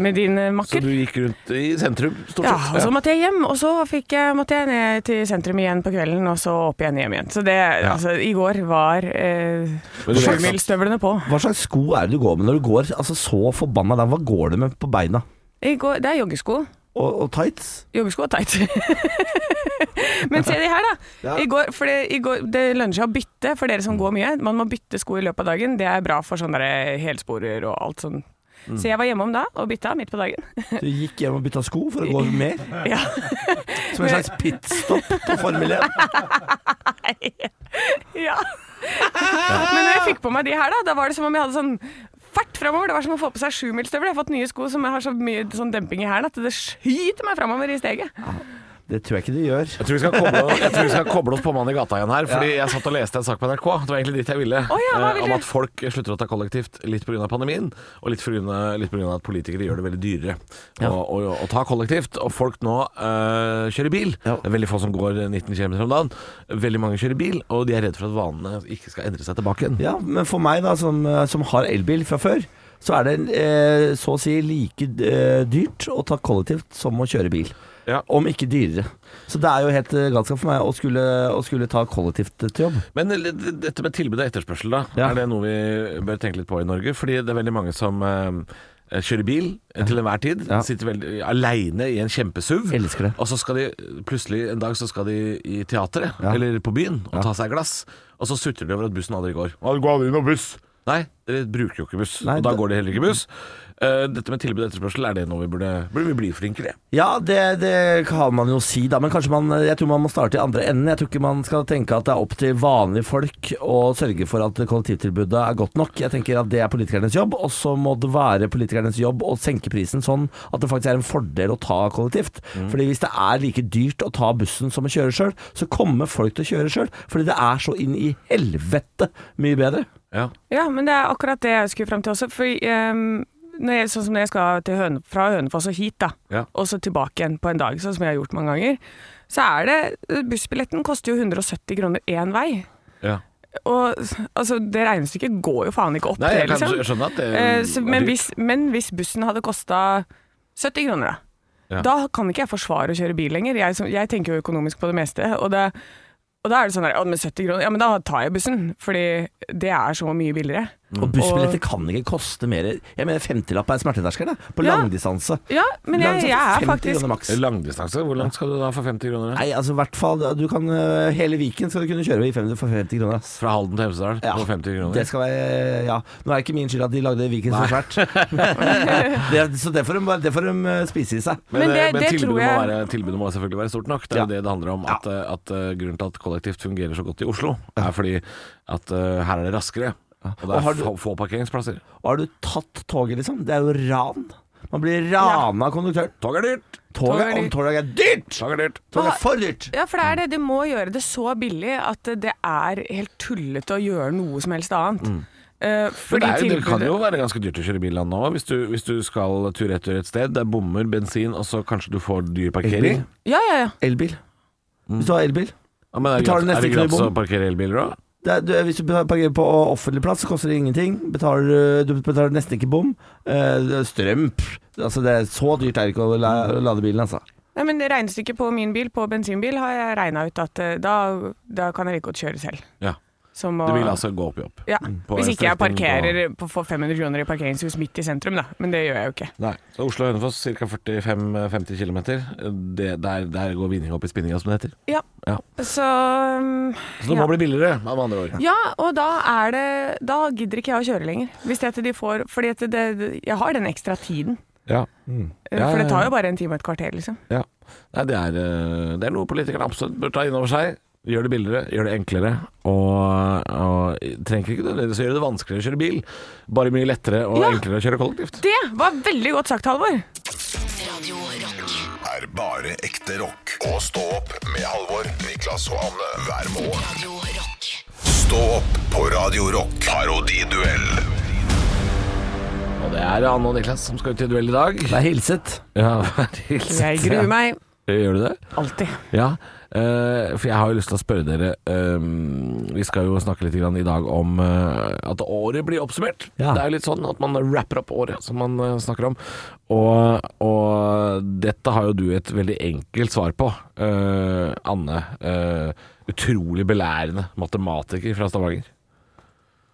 Speaker 4: med din eh,
Speaker 5: Så
Speaker 4: makker.
Speaker 5: du gikk rundt i sentrum, stort
Speaker 4: Ja, og
Speaker 5: sett?
Speaker 4: så måtte jeg hjem, og så fikk jeg, måtte jeg ned til sentrum igjen på kvelden, og så opp igjen hjem igjen. Så det, altså, i går var eh,
Speaker 5: Men du vet at-
Speaker 4: sjumilsstøvlene på.
Speaker 3: Hva slags sko er det du går med når du går altså, så forbanna der? Hva går du med på beina?
Speaker 4: I går, det er joggesko.
Speaker 3: og, og tights.
Speaker 4: Joggesko og tights. [LAUGHS] Men se de her, da.
Speaker 3: Ja.
Speaker 4: I går, for det, i går, det lønner seg å bytte for dere som går mye. Man må bytte sko i løpet av dagen. Det er bra for sånne der helsporer og alt sånn. Så jeg var hjemme om da og bytta midt på dagen. [LAUGHS]
Speaker 3: Så jeg gikk hjem og bytta sko for å gå mer.
Speaker 4: ja.
Speaker 3: Som en slags pitstop på Formel 1.
Speaker 4: ja. Men når jeg fikk på meg de her, da, da var det som om jeg hadde sånn fart framover. Det var som å få på seg sjumilsstøvler. Jeg har fått nye sko som har så mye sånn demping i hælen at det skyter meg framover i steget.
Speaker 3: Det tror jeg ikke det gjør.
Speaker 5: Jeg tror, vi skal koble, jeg tror vi skal koble oss på mannen i gata igjen her, fordi jeg satt og leste en sak på NRK. Det var egentlig dit jeg ville.
Speaker 4: ja, hva
Speaker 5: eh,
Speaker 4: ville
Speaker 5: om
Speaker 4: du?
Speaker 5: at folk slutter å ta kollektivt litt pga. pandemien, og litt pga. at politikere gjør det veldig dyrere å, å, å, ta kollektivt. Og folk nå eh, kjører bil.
Speaker 3: Ja.
Speaker 5: Det er veldig få som går 19 km om dagen. Veldig mange kjører bil, og de er redd for at vanene ikke skal endre seg tilbake igjen.
Speaker 3: Ja, men for meg da, som, eh, som har elbil fra før, så er det eh, så å si like eh, dyrt å ta kollektivt som å kjøre bil.
Speaker 5: Ja.
Speaker 3: Om ikke dyrere. Så det er jo helt eh, galskap for meg å skulle, å skulle ta kollektivt til jobb.
Speaker 5: Men l- d- dette med tilbud og etterspørsel, da.
Speaker 3: Ja.
Speaker 5: Er det noe vi bør tenke litt på i Norge? Fordi det er veldig mange som eh, kjører bil til enhver tid.
Speaker 3: Ja.
Speaker 5: Sitter veldig aleine i en kjempesuv.
Speaker 3: Elsker det.
Speaker 5: Og så skal de eh, plutselig en dag så skal de i teatret,
Speaker 3: Ja.
Speaker 5: eller på byen, og ta seg et glass. Og så sutrer de over at bussen aldri går. Og det går aldri noen buss. Nei, dere bruker jo ikke buss.
Speaker 3: Nei,
Speaker 5: og da
Speaker 3: det-
Speaker 5: går det heller ikke buss. Eh, dette med tilbud og etterspørsel, er det noe vi burde, burde vi bli flinkere i?
Speaker 3: Ja, det, det kan man jo si, da. Men kanskje man, jeg tror man må starte i andre enden. Jeg tror ikke man skal tenke at det er opp til vanlige folk å sørge for at kollektivtilbudet er godt nok. Jeg tenker at det er politikernes jobb, og så må det være politikernes jobb å senke prisen sånn at det faktisk er en fordel å ta kollektivt.
Speaker 4: Mm.
Speaker 3: Fordi hvis det er like dyrt å ta bussen som å kjøre sjøl, så kommer folk til å kjøre sjøl. Fordi det er så inn i helvete mye bedre.
Speaker 5: Ja.
Speaker 4: Ja, men det er akkurat det jeg skulle fram til også. For ehm, når jeg, sånn som når jeg skal til Høne, fra Hønefoss og hit, da,
Speaker 5: Ja.
Speaker 4: og så tilbake igjen på en dag, sånn som jeg har gjort mange ganger, så er det Bussbilletten koster jo 170 kroner én vei.
Speaker 5: ja.
Speaker 4: Og altså, det regnestykket går jo faen ikke opp,
Speaker 5: Nei, jeg
Speaker 4: det,
Speaker 5: kan
Speaker 4: liksom.
Speaker 5: skjønne at det
Speaker 4: Eh, så,
Speaker 5: er
Speaker 4: men,
Speaker 5: dyrt.
Speaker 4: hvis, men hvis bussen hadde kosta 70 kroner, da,
Speaker 5: Ja.
Speaker 4: da kan ikke jeg forsvare å kjøre bil lenger. Jeg, som, jeg tenker jo økonomisk på det meste. Og, det, og da er det sånn der, «Å, men 70 kroner, ja, men da tar jeg bussen. Fordi det er så mye billigere.
Speaker 3: Og bussbilletter kan ikke koste mer Jeg mener femtilapp er smerteterskelen, da, på
Speaker 4: Ja.
Speaker 3: langdistanse.
Speaker 4: Ja, men jeg, jeg er
Speaker 3: 50
Speaker 4: faktisk
Speaker 3: kroner maks.
Speaker 5: Langdistanse? Hvor langt skal du da for 50 kroner?
Speaker 3: Nei, altså i hvert fall du kan, øh, Hele Viken skal du kunne kjøre i 50 for 50 kroner. ass.
Speaker 5: Fra Halden til Hemsedal på 50 kroner.
Speaker 3: Det skal være, ja. Nå er det ikke min skyld at de lagde Viken så svært. [LAUGHS] det, så det får, de, bare- det får de øh, spise i seg.
Speaker 5: Men,
Speaker 4: Men det-
Speaker 5: eh, men
Speaker 4: det
Speaker 5: tilbudet,
Speaker 4: tror jeg-
Speaker 5: må være, tilbudet må selvfølgelig være stort nok. Det er jo
Speaker 3: Ja.
Speaker 5: det det handler om. At, eh, at eh, Grunnen til at kollektivt fungerer så godt i Oslo, er fordi at eh, her er det raskere. Og det
Speaker 3: Og har
Speaker 5: er
Speaker 3: du-
Speaker 5: få, få parkeringsplasser.
Speaker 3: Og har du tatt toget, liksom? Det er jo ran. Man blir rana av konduktøren.
Speaker 5: Tog er dyrt!
Speaker 3: Toget,
Speaker 4: Tog er
Speaker 3: om toget er dyrt!
Speaker 5: Tog er dyrt!
Speaker 3: Toget
Speaker 4: Hva-
Speaker 3: er for dyrt!
Speaker 4: Ja, for det er det. De må gjøre det så billig at det er helt tullete å gjøre noe som helst annet. Eh,
Speaker 5: Men
Speaker 4: fordi
Speaker 5: det, er, jo- det kan
Speaker 4: tilbudet-
Speaker 5: jo være ganske dyrt å kjøre bil nå, hvis du, hvis du skal tur-retur et sted. Det er bommer, bensin, og så kanskje du får dyr parkering.
Speaker 3: Elbil.
Speaker 4: Ja, ja, ja.
Speaker 3: Elbil.
Speaker 5: Mm.
Speaker 3: Hvis du har elbil
Speaker 5: Ja, men er det
Speaker 3: Betaler
Speaker 5: gratis- er det
Speaker 3: nesten ikke
Speaker 5: gratis å
Speaker 3: bom.
Speaker 5: parkere elbiler òg?
Speaker 3: det er, du, Hvis du betaler- parkerer på offentlig plass, så koster det ingenting. Betaler, øh, du betaler nesten ikke bom. Eh, strøm pff. Altså, det er Så dyrt er det ikke å la, lade bilen, altså.
Speaker 4: Nei, men Regnestykket på min bil, på bensinbil, har jeg regna ut at eh, da, da kan jeg like godt kjøre selv.
Speaker 5: Ja.
Speaker 4: Som å,
Speaker 5: Du
Speaker 3: Ah.
Speaker 5: vil altså gå opp i opp?
Speaker 4: ja.
Speaker 5: på
Speaker 4: Hvis
Speaker 5: en
Speaker 4: ikke jeg
Speaker 5: strekning på-
Speaker 4: parkerer på, for 500 kroner i parkeringshus midt i sentrum, da. Men det gjør jeg jo ikke.
Speaker 5: Nei. Så Oslo-Hønefoss ca. 45-50 km. Der, der går vinninga opp i spinninga, som det heter.
Speaker 4: Ja.
Speaker 5: Ja.
Speaker 4: Så um,
Speaker 5: Så det
Speaker 4: Ja.
Speaker 5: må bli billigere, med andre ord.
Speaker 4: Ja, og da er det Da gidder ikke jeg å kjøre lenger. Hvis det at de får Fordi at det, jeg har den ekstra tiden.
Speaker 5: Ja.
Speaker 4: Eh,
Speaker 5: Ja,
Speaker 4: For det
Speaker 5: ja,
Speaker 4: tar
Speaker 5: ja.
Speaker 4: jo bare en time og et kvarter, liksom.
Speaker 5: ja. Nei, det er, eh, det er noe politikerne absolutt bør ta inn over seg. Gjør det billigere, gjør det enklere. Og, og trenger ikke nødvendigvis å gjøre det vanskeligere å kjøre bil. Bare mye lettere og
Speaker 4: Ja.
Speaker 5: enklere å kjøre kollektivt.
Speaker 4: Det var veldig godt sagt, Halvor.
Speaker 1: Radio Rock.
Speaker 2: er bare ekte rock. Og stå opp med Halvor, Niklas og Anne hver morgen.
Speaker 1: Radio Rock.
Speaker 2: Stå opp på Radio Rock. Parodiduell
Speaker 5: Og det er Anne og Niklas som skal ut i duell i dag.
Speaker 3: Det er hilset.
Speaker 5: Ja, [LAUGHS] vær hilset.
Speaker 4: Jeg gruer meg
Speaker 5: Gjør du det?
Speaker 4: alltid.
Speaker 5: Ja, eh, for jeg har jo lyst til å spørre dere eh, Vi skal jo snakke litt grann i dag om eh, at året blir oppsummert.
Speaker 3: Ja.
Speaker 5: Det er jo litt sånn at man rapper opp året som man eh, snakker om. Og, og dette har jo du et veldig enkelt svar på, eh, Anne. eh, utrolig belærende matematiker fra Stavanger.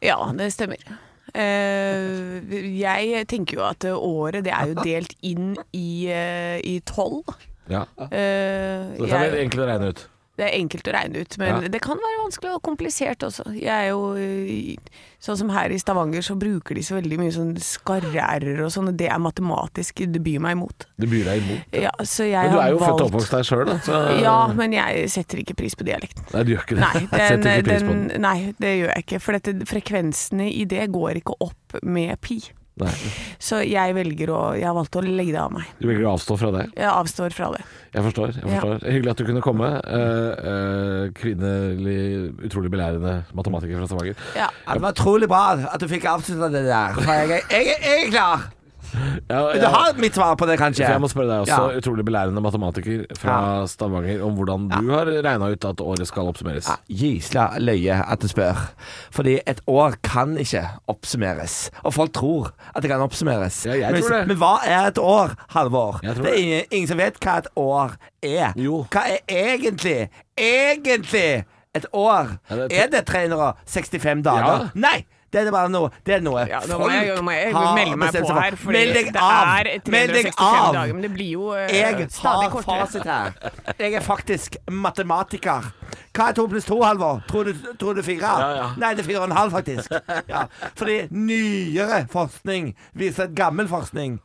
Speaker 4: Ja, det stemmer. Eh, jeg tenker jo at eh, året det er jo delt inn i, eh, i tolv.
Speaker 5: Ja.
Speaker 4: Eh,
Speaker 5: Så dette er vel
Speaker 4: jeg,
Speaker 5: enkelt å regne ut.
Speaker 4: det er enkelt å regne ut, men
Speaker 5: Ja.
Speaker 4: det kan være vanskelig og komplisert også. Jeg er jo eh, Sånn som her i Stavanger, så bruker de så veldig mye sånn skarre-r-er og sånn, og det er matematisk. Det byr meg imot.
Speaker 5: Du byr deg imot.
Speaker 4: Ja, så jeg
Speaker 5: Men du er
Speaker 4: har
Speaker 5: jo født og
Speaker 4: valgt-
Speaker 5: oppvokst der sjøl, da. Så
Speaker 4: Ja, men jeg setter ikke pris på
Speaker 5: [LAUGHS]
Speaker 4: dialekten.
Speaker 5: Nei, du gjør ikke det.
Speaker 4: Nei,
Speaker 5: jeg
Speaker 4: den,
Speaker 5: setter ikke pris på
Speaker 4: den,
Speaker 5: den.
Speaker 4: nei, det gjør jeg ikke. For dette, frekvensene i det går ikke opp med pi.
Speaker 5: Nei,
Speaker 4: Så jeg velger å Jeg har valgt å legge det av meg.
Speaker 5: du velger å avstå fra det.
Speaker 4: Jeg avstår fra det.
Speaker 5: Jeg forstår. jeg
Speaker 4: Ja.
Speaker 5: forstår Hyggelig at du kunne komme. Eh, eh, kvinnelig, utrolig belærende matematiker fra Stavanger.
Speaker 4: Ja.
Speaker 3: Ja, det var utrolig bra at du fikk avslutta det der. For jeg, er- jeg, er- jeg er klar.
Speaker 5: Ja,
Speaker 3: Du
Speaker 5: ja,
Speaker 3: har mitt svar på det, kanskje?
Speaker 5: for jeg må spørre deg også,
Speaker 3: Ja.
Speaker 5: utrolig belærende matematiker fra Stavanger, om hvordan du har regna ut at året skal oppsummeres.
Speaker 3: Ja, Gisla løye at du spør. Fordi et år kan ikke oppsummeres. Og folk tror at det kan oppsummeres.
Speaker 5: Ja, jeg
Speaker 3: men,
Speaker 5: tror det.
Speaker 3: men hva er et år, Halvor?
Speaker 5: Jeg
Speaker 3: Det
Speaker 5: tror
Speaker 3: er
Speaker 5: det.
Speaker 3: ingen, ingen som vet hva et år er.
Speaker 5: Jo.
Speaker 3: Hva er egentlig egentlig et år?
Speaker 5: Ja, det er
Speaker 3: er det 365 dager?
Speaker 5: Ja.
Speaker 3: Nei! Det er bare noe, det er noe
Speaker 4: Ja, nå må
Speaker 3: folk
Speaker 4: jeg, nå må jeg
Speaker 3: har
Speaker 4: melde meg
Speaker 3: bestemt
Speaker 4: på
Speaker 3: seg for.
Speaker 4: her, for
Speaker 3: Meld
Speaker 4: det
Speaker 3: deg av!
Speaker 4: er 365 dager. Men det blir jo eh,
Speaker 3: Jeg
Speaker 4: stadig
Speaker 3: har
Speaker 4: kortere.
Speaker 3: fasit her. Jeg er faktisk matematiker. Hva er to pluss to, Halvor? Tror du, tror du fire?
Speaker 5: Ja, ja.
Speaker 3: Nei, det er fire og en halv, faktisk. Ja. Fordi nyere forskning viser at gammel forskning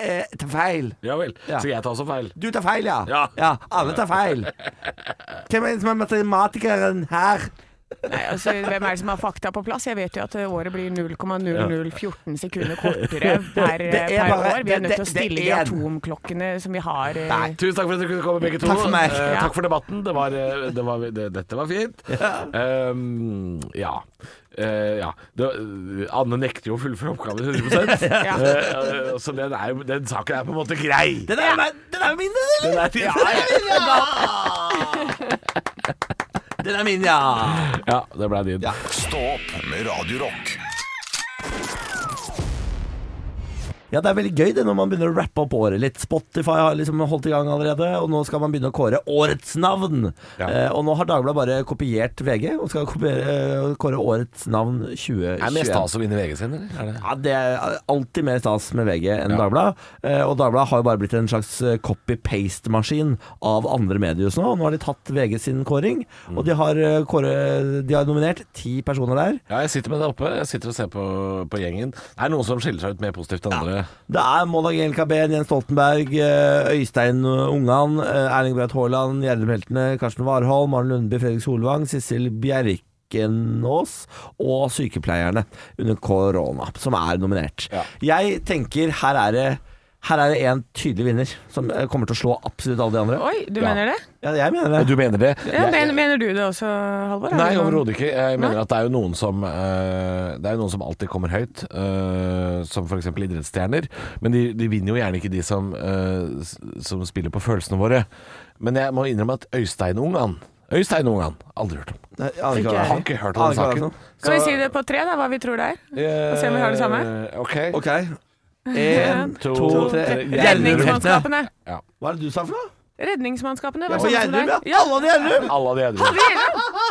Speaker 3: eh, tar feil.
Speaker 5: Ja vel.
Speaker 3: Ja.
Speaker 5: Så jeg tar også feil.
Speaker 3: Du tar feil, ja.
Speaker 5: Ja.
Speaker 3: alle tar feil. Hvem er det som er matematikeren her?
Speaker 4: Nei, altså, hvem er det som har fakta på plass? Jeg vet jo at eh, året blir 0,0014 sekunder kortere per,
Speaker 3: [LAUGHS]
Speaker 4: eh,
Speaker 3: Det er
Speaker 4: per
Speaker 3: bare-
Speaker 4: år. Vi er
Speaker 3: det-
Speaker 4: nødt til å
Speaker 3: det-
Speaker 4: stille
Speaker 3: det
Speaker 4: de
Speaker 3: er-
Speaker 4: atomklokkene som vi har. eh,
Speaker 3: Nei.
Speaker 5: Tusen takk for at dere kunne komme, begge to.
Speaker 3: Takk for meg.
Speaker 5: Eh,
Speaker 4: Ja.
Speaker 5: takk for debatten. Det var, eh, det var, det, dette var fint. Um, ja. Eh, ja. Det, Anne nekter jo å fullføre oppgaven
Speaker 3: [LAUGHS]
Speaker 5: 100
Speaker 4: Ja.
Speaker 5: Eh, eh, Så den, er, jo- den saken er på en måte grei.
Speaker 3: Den er, den er min, den,
Speaker 5: Den
Speaker 3: eller?
Speaker 5: er til- ja,
Speaker 4: [LAUGHS]
Speaker 3: Den er min, ja.
Speaker 5: det ble din.
Speaker 2: Stå opp med Radio Rock.
Speaker 3: Ja, det er veldig gøy det når man begynner å rappe opp året litt. Spotify har liksom holdt i gang allerede, og nå skal man begynne å kåre årets navn.
Speaker 5: Ja.
Speaker 3: Eh, og nå har Dagbladet bare kopiert VG, og skal kopiere, eh, kåre årets navn 2021.
Speaker 5: Er det mer stas å vinne VG sin, eller? Er det?
Speaker 3: Ja, det er alltid mer stas med VG enn Dagbladet. Eh, og Dagbladet har jo bare blitt en slags eh, copy-paste-maskin av andre medier nå. Og nå har de tatt VG sin kåring,
Speaker 5: Mm.
Speaker 3: og de har, eh, kåre, de har nominert ti personer der.
Speaker 5: Ja, jeg sitter med det oppe. Jeg sitter og ser på, på gjengen. Det er noen som skiller seg ut mer positivt enn andre.
Speaker 3: Det er Målag LKB, Jens Stoltenberg, eh, Øystein Ungan, eh, Erling Braut Haaland, Gjerdrum Heltene, Karsten Warholm, Maren Lundby, Fredrik Solvang, Sissel Bjerkenås og sykepleierne under korona, som er nominert.
Speaker 5: Ja.
Speaker 3: Jeg tenker her er det her er det en tydelig vinner som eh, kommer til å slå absolutt alle de andre.
Speaker 4: Oi, du
Speaker 5: Ja.
Speaker 4: mener det?
Speaker 3: Ja, jeg mener det.
Speaker 5: Du mener det?
Speaker 4: Ja,
Speaker 5: Jeg-
Speaker 4: men, mener du det også, Halvor? Er
Speaker 5: Nei,
Speaker 4: det noen-
Speaker 5: overhodet ikke. Jeg mener
Speaker 4: Nei.
Speaker 5: at det er jo noen som eh, Det er jo noen som alltid kommer høyt, eh, som f.eks. idrettsstjerner. Men de, de vinner jo gjerne ikke de som, eh, s- som spiller på følelsene våre. Men jeg må innrømme at Øystein Ungan Øystein Ungan, aldri hørt om.
Speaker 3: Nei, jeg aner ikke hva det
Speaker 5: Jeg
Speaker 3: er.
Speaker 5: har ikke hørt om den
Speaker 3: Aner ikke hva det er
Speaker 5: saken.
Speaker 3: for noe.
Speaker 4: Kan vi si det på tre, da, hva vi tror det er?
Speaker 5: Og
Speaker 4: se om vi har det samme?
Speaker 5: Eh, Ok.
Speaker 3: OK. En,
Speaker 5: To,
Speaker 3: to,
Speaker 5: tre.
Speaker 3: tre. Gjerrum.
Speaker 4: Redningsmannskapene.
Speaker 3: Hva er det du sa for noe?
Speaker 4: Redningsmannskapene.
Speaker 3: Ja,
Speaker 4: Var
Speaker 3: på
Speaker 4: sånn som
Speaker 3: Gjerdrum, ja.
Speaker 4: deg. ja.
Speaker 3: Alle de Gjerdrum.
Speaker 5: Alle de andre.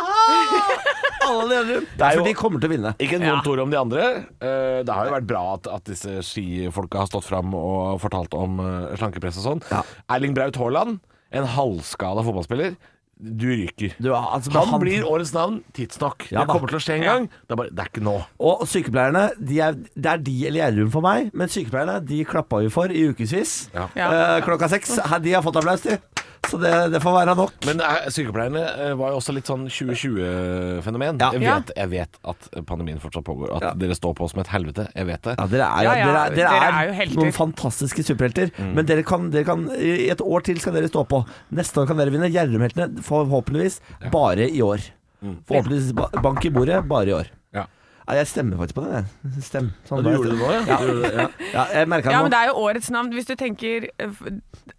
Speaker 3: Alle de Gjerdrum.
Speaker 5: er jo-
Speaker 3: For de kommer til å vinne.
Speaker 5: Ikke et vondt ord om de andre. Eh, Det har jo vært bra at, at disse skifolka har stått fram og fortalt om eh, slankepress og sånn.
Speaker 3: Ja.
Speaker 5: Erling Braut Haaland, en halvskada fotballspiller. Du ryker.
Speaker 3: Du, altså,
Speaker 5: han,
Speaker 3: han-
Speaker 5: blir årets navn tidsnok.
Speaker 3: Ja
Speaker 5: det
Speaker 3: da.
Speaker 5: kommer til å skje en gang. Det, er bare, det er ikke nå.
Speaker 3: Og sykepleierne, de er, det er de eller Gjerdrum for meg, men sykepleierne de klappa vi for i ukevis.
Speaker 5: Ja.
Speaker 4: Ja.
Speaker 3: Eh, klokka seks. Her, De har fått applaus, de. Så det, det får være nok.
Speaker 5: Men eh, sykepleierne eh, var jo også litt sånn 2020-fenomen.
Speaker 3: Ja.
Speaker 5: Jeg,
Speaker 4: Ja.
Speaker 5: vet- jeg vet at pandemien fortsatt pågår. At
Speaker 3: Ja.
Speaker 5: dere står på som et helvete. Jeg vet det.
Speaker 3: Ja, dere er, jo-
Speaker 4: Ja, ja,
Speaker 3: dere er, dere
Speaker 4: dere
Speaker 3: er,
Speaker 4: er jo helter.
Speaker 3: noen fantastiske superhelter. Men dere kan, dere kan, i et år til skal dere stå på. Neste år kan dere vinne. Gjerdrum-heltene forhåpentligvis bare i år. Forhåpentligvis ba- bank i bordet bare i år.
Speaker 5: Ja.
Speaker 3: Nei, jeg stemmer faktisk på det. jeg. Stem. Sånn
Speaker 5: Du
Speaker 3: bare
Speaker 5: gjorde det
Speaker 3: stem.
Speaker 5: nå, ja? Du gjorde det, ja.
Speaker 3: Ja, jeg merka
Speaker 4: Ja,
Speaker 3: det nå.
Speaker 4: men det er jo årets navn. Hvis du tenker eh, f-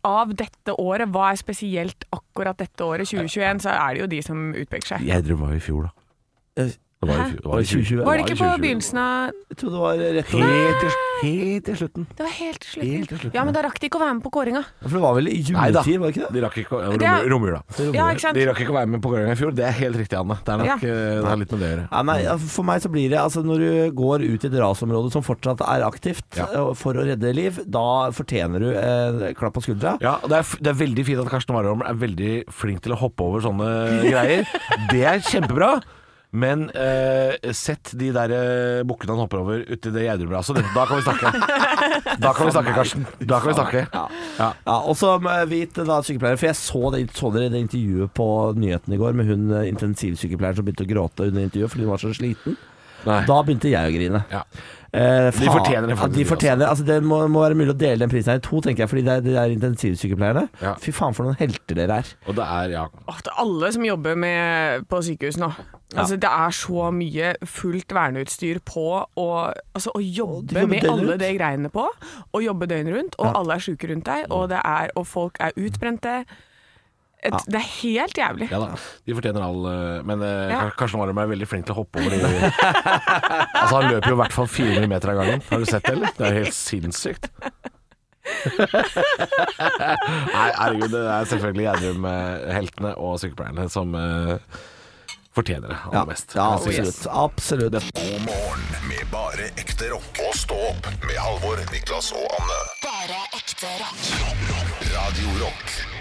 Speaker 4: av dette året, hva er spesielt akkurat dette året, 2021, så er det jo de som utpeker seg.
Speaker 5: Gjerdrum var jo i fjor, da.
Speaker 3: Eh,
Speaker 5: Det var i fjor- det var i
Speaker 3: Var det 2020?
Speaker 5: 2020.
Speaker 4: Var det
Speaker 5: i
Speaker 4: ikke på
Speaker 5: 2020.
Speaker 4: begynnelsen av
Speaker 3: Jeg trodde det var rett over.
Speaker 5: Helt til, helt til slutten.
Speaker 4: Det var helt til
Speaker 5: Helt til
Speaker 4: slutten.
Speaker 5: slutten,
Speaker 4: Ja, men da rakk de ikke å være med på kåringa.
Speaker 3: For det var vel i
Speaker 5: Neida.
Speaker 3: juletid, var det ikke det?
Speaker 5: De rakk ikke å
Speaker 4: Det er-
Speaker 5: rom- Romjula.
Speaker 4: Ja, ikke sant?
Speaker 5: De rakk ikke å være med på Gøringa i fjor. Det er helt riktig, Anne. Det er nok
Speaker 4: Ja.
Speaker 5: eh, det har litt med det å gjøre.
Speaker 3: Ja, nei, ja, for meg så blir det altså Når du går ut i et rasområde som fortsatt er aktivt
Speaker 5: Ja.
Speaker 3: eh, for å redde liv, da fortjener du eh, klapp på skuldra.
Speaker 5: Ja, og det er, f- det er veldig fint at Karsten Warholm er veldig flink til å hoppe over sånne greier. Det er kjempebra. Men eh, sett de der eh, bukkene han hopper over uti det geidebraset. Da kan vi snakke. Da kan vi snakke, Karsten. Da kan vi snakke. Ja.
Speaker 3: Ja, og så eh, vit da sykepleiere, for jeg så, det, så dere det intervjuet på nyheten i går med hun eh, intensivsykepleieren som begynte å gråte under intervjuet fordi hun var så sliten.
Speaker 5: Nei.
Speaker 3: Da begynte jeg å grine.
Speaker 5: Ja.
Speaker 3: Eh, faen.
Speaker 5: fortjener det
Speaker 3: Ja,
Speaker 5: faktisk,
Speaker 3: de fortjener, altså, det må, må være mulig å dele den prisen her i to, tenker jeg, fordi det er, det er intensivsykepleierne.
Speaker 5: Ja.
Speaker 3: Fy faen for noen helter dere er.
Speaker 5: Og det er ja.
Speaker 4: Åh, det er alle som jobber med, på sykehus nå. Altså, Det er så mye fullt verneutstyr på, og altså, å
Speaker 3: de
Speaker 4: jobbe
Speaker 3: jobber
Speaker 4: med
Speaker 3: døgnet
Speaker 4: alle
Speaker 3: rundt.
Speaker 4: de greiene på, og jobbe døgnet rundt, og alle er sjuke rundt deg, og, det er, og folk er utbrente. Et, Det er helt [LAUGHS] jævlig.
Speaker 5: Ja da, de fortjener all eh, Men eh,
Speaker 4: Ja.
Speaker 5: Kar- Karsten Warholm er veldig flink til å hoppe over de [LAUGHS] Altså han løper jo i hvert fall 400 meter av gangen Har du sett det eller? Det er jo helt sinnssykt [LAUGHS] Nei, herregud, det er selvfølgelig Gjerdrum eh, heltene og sykepleierne som eh, fortjener det aller mest
Speaker 3: ja
Speaker 5: Kan jeg si.
Speaker 3: absolutt. absolutt.
Speaker 2: God morgen med bare ekte rock. Og stå opp med Halvor, Niklas og Anne.
Speaker 1: Bare ekte rock.
Speaker 2: Radio Rock.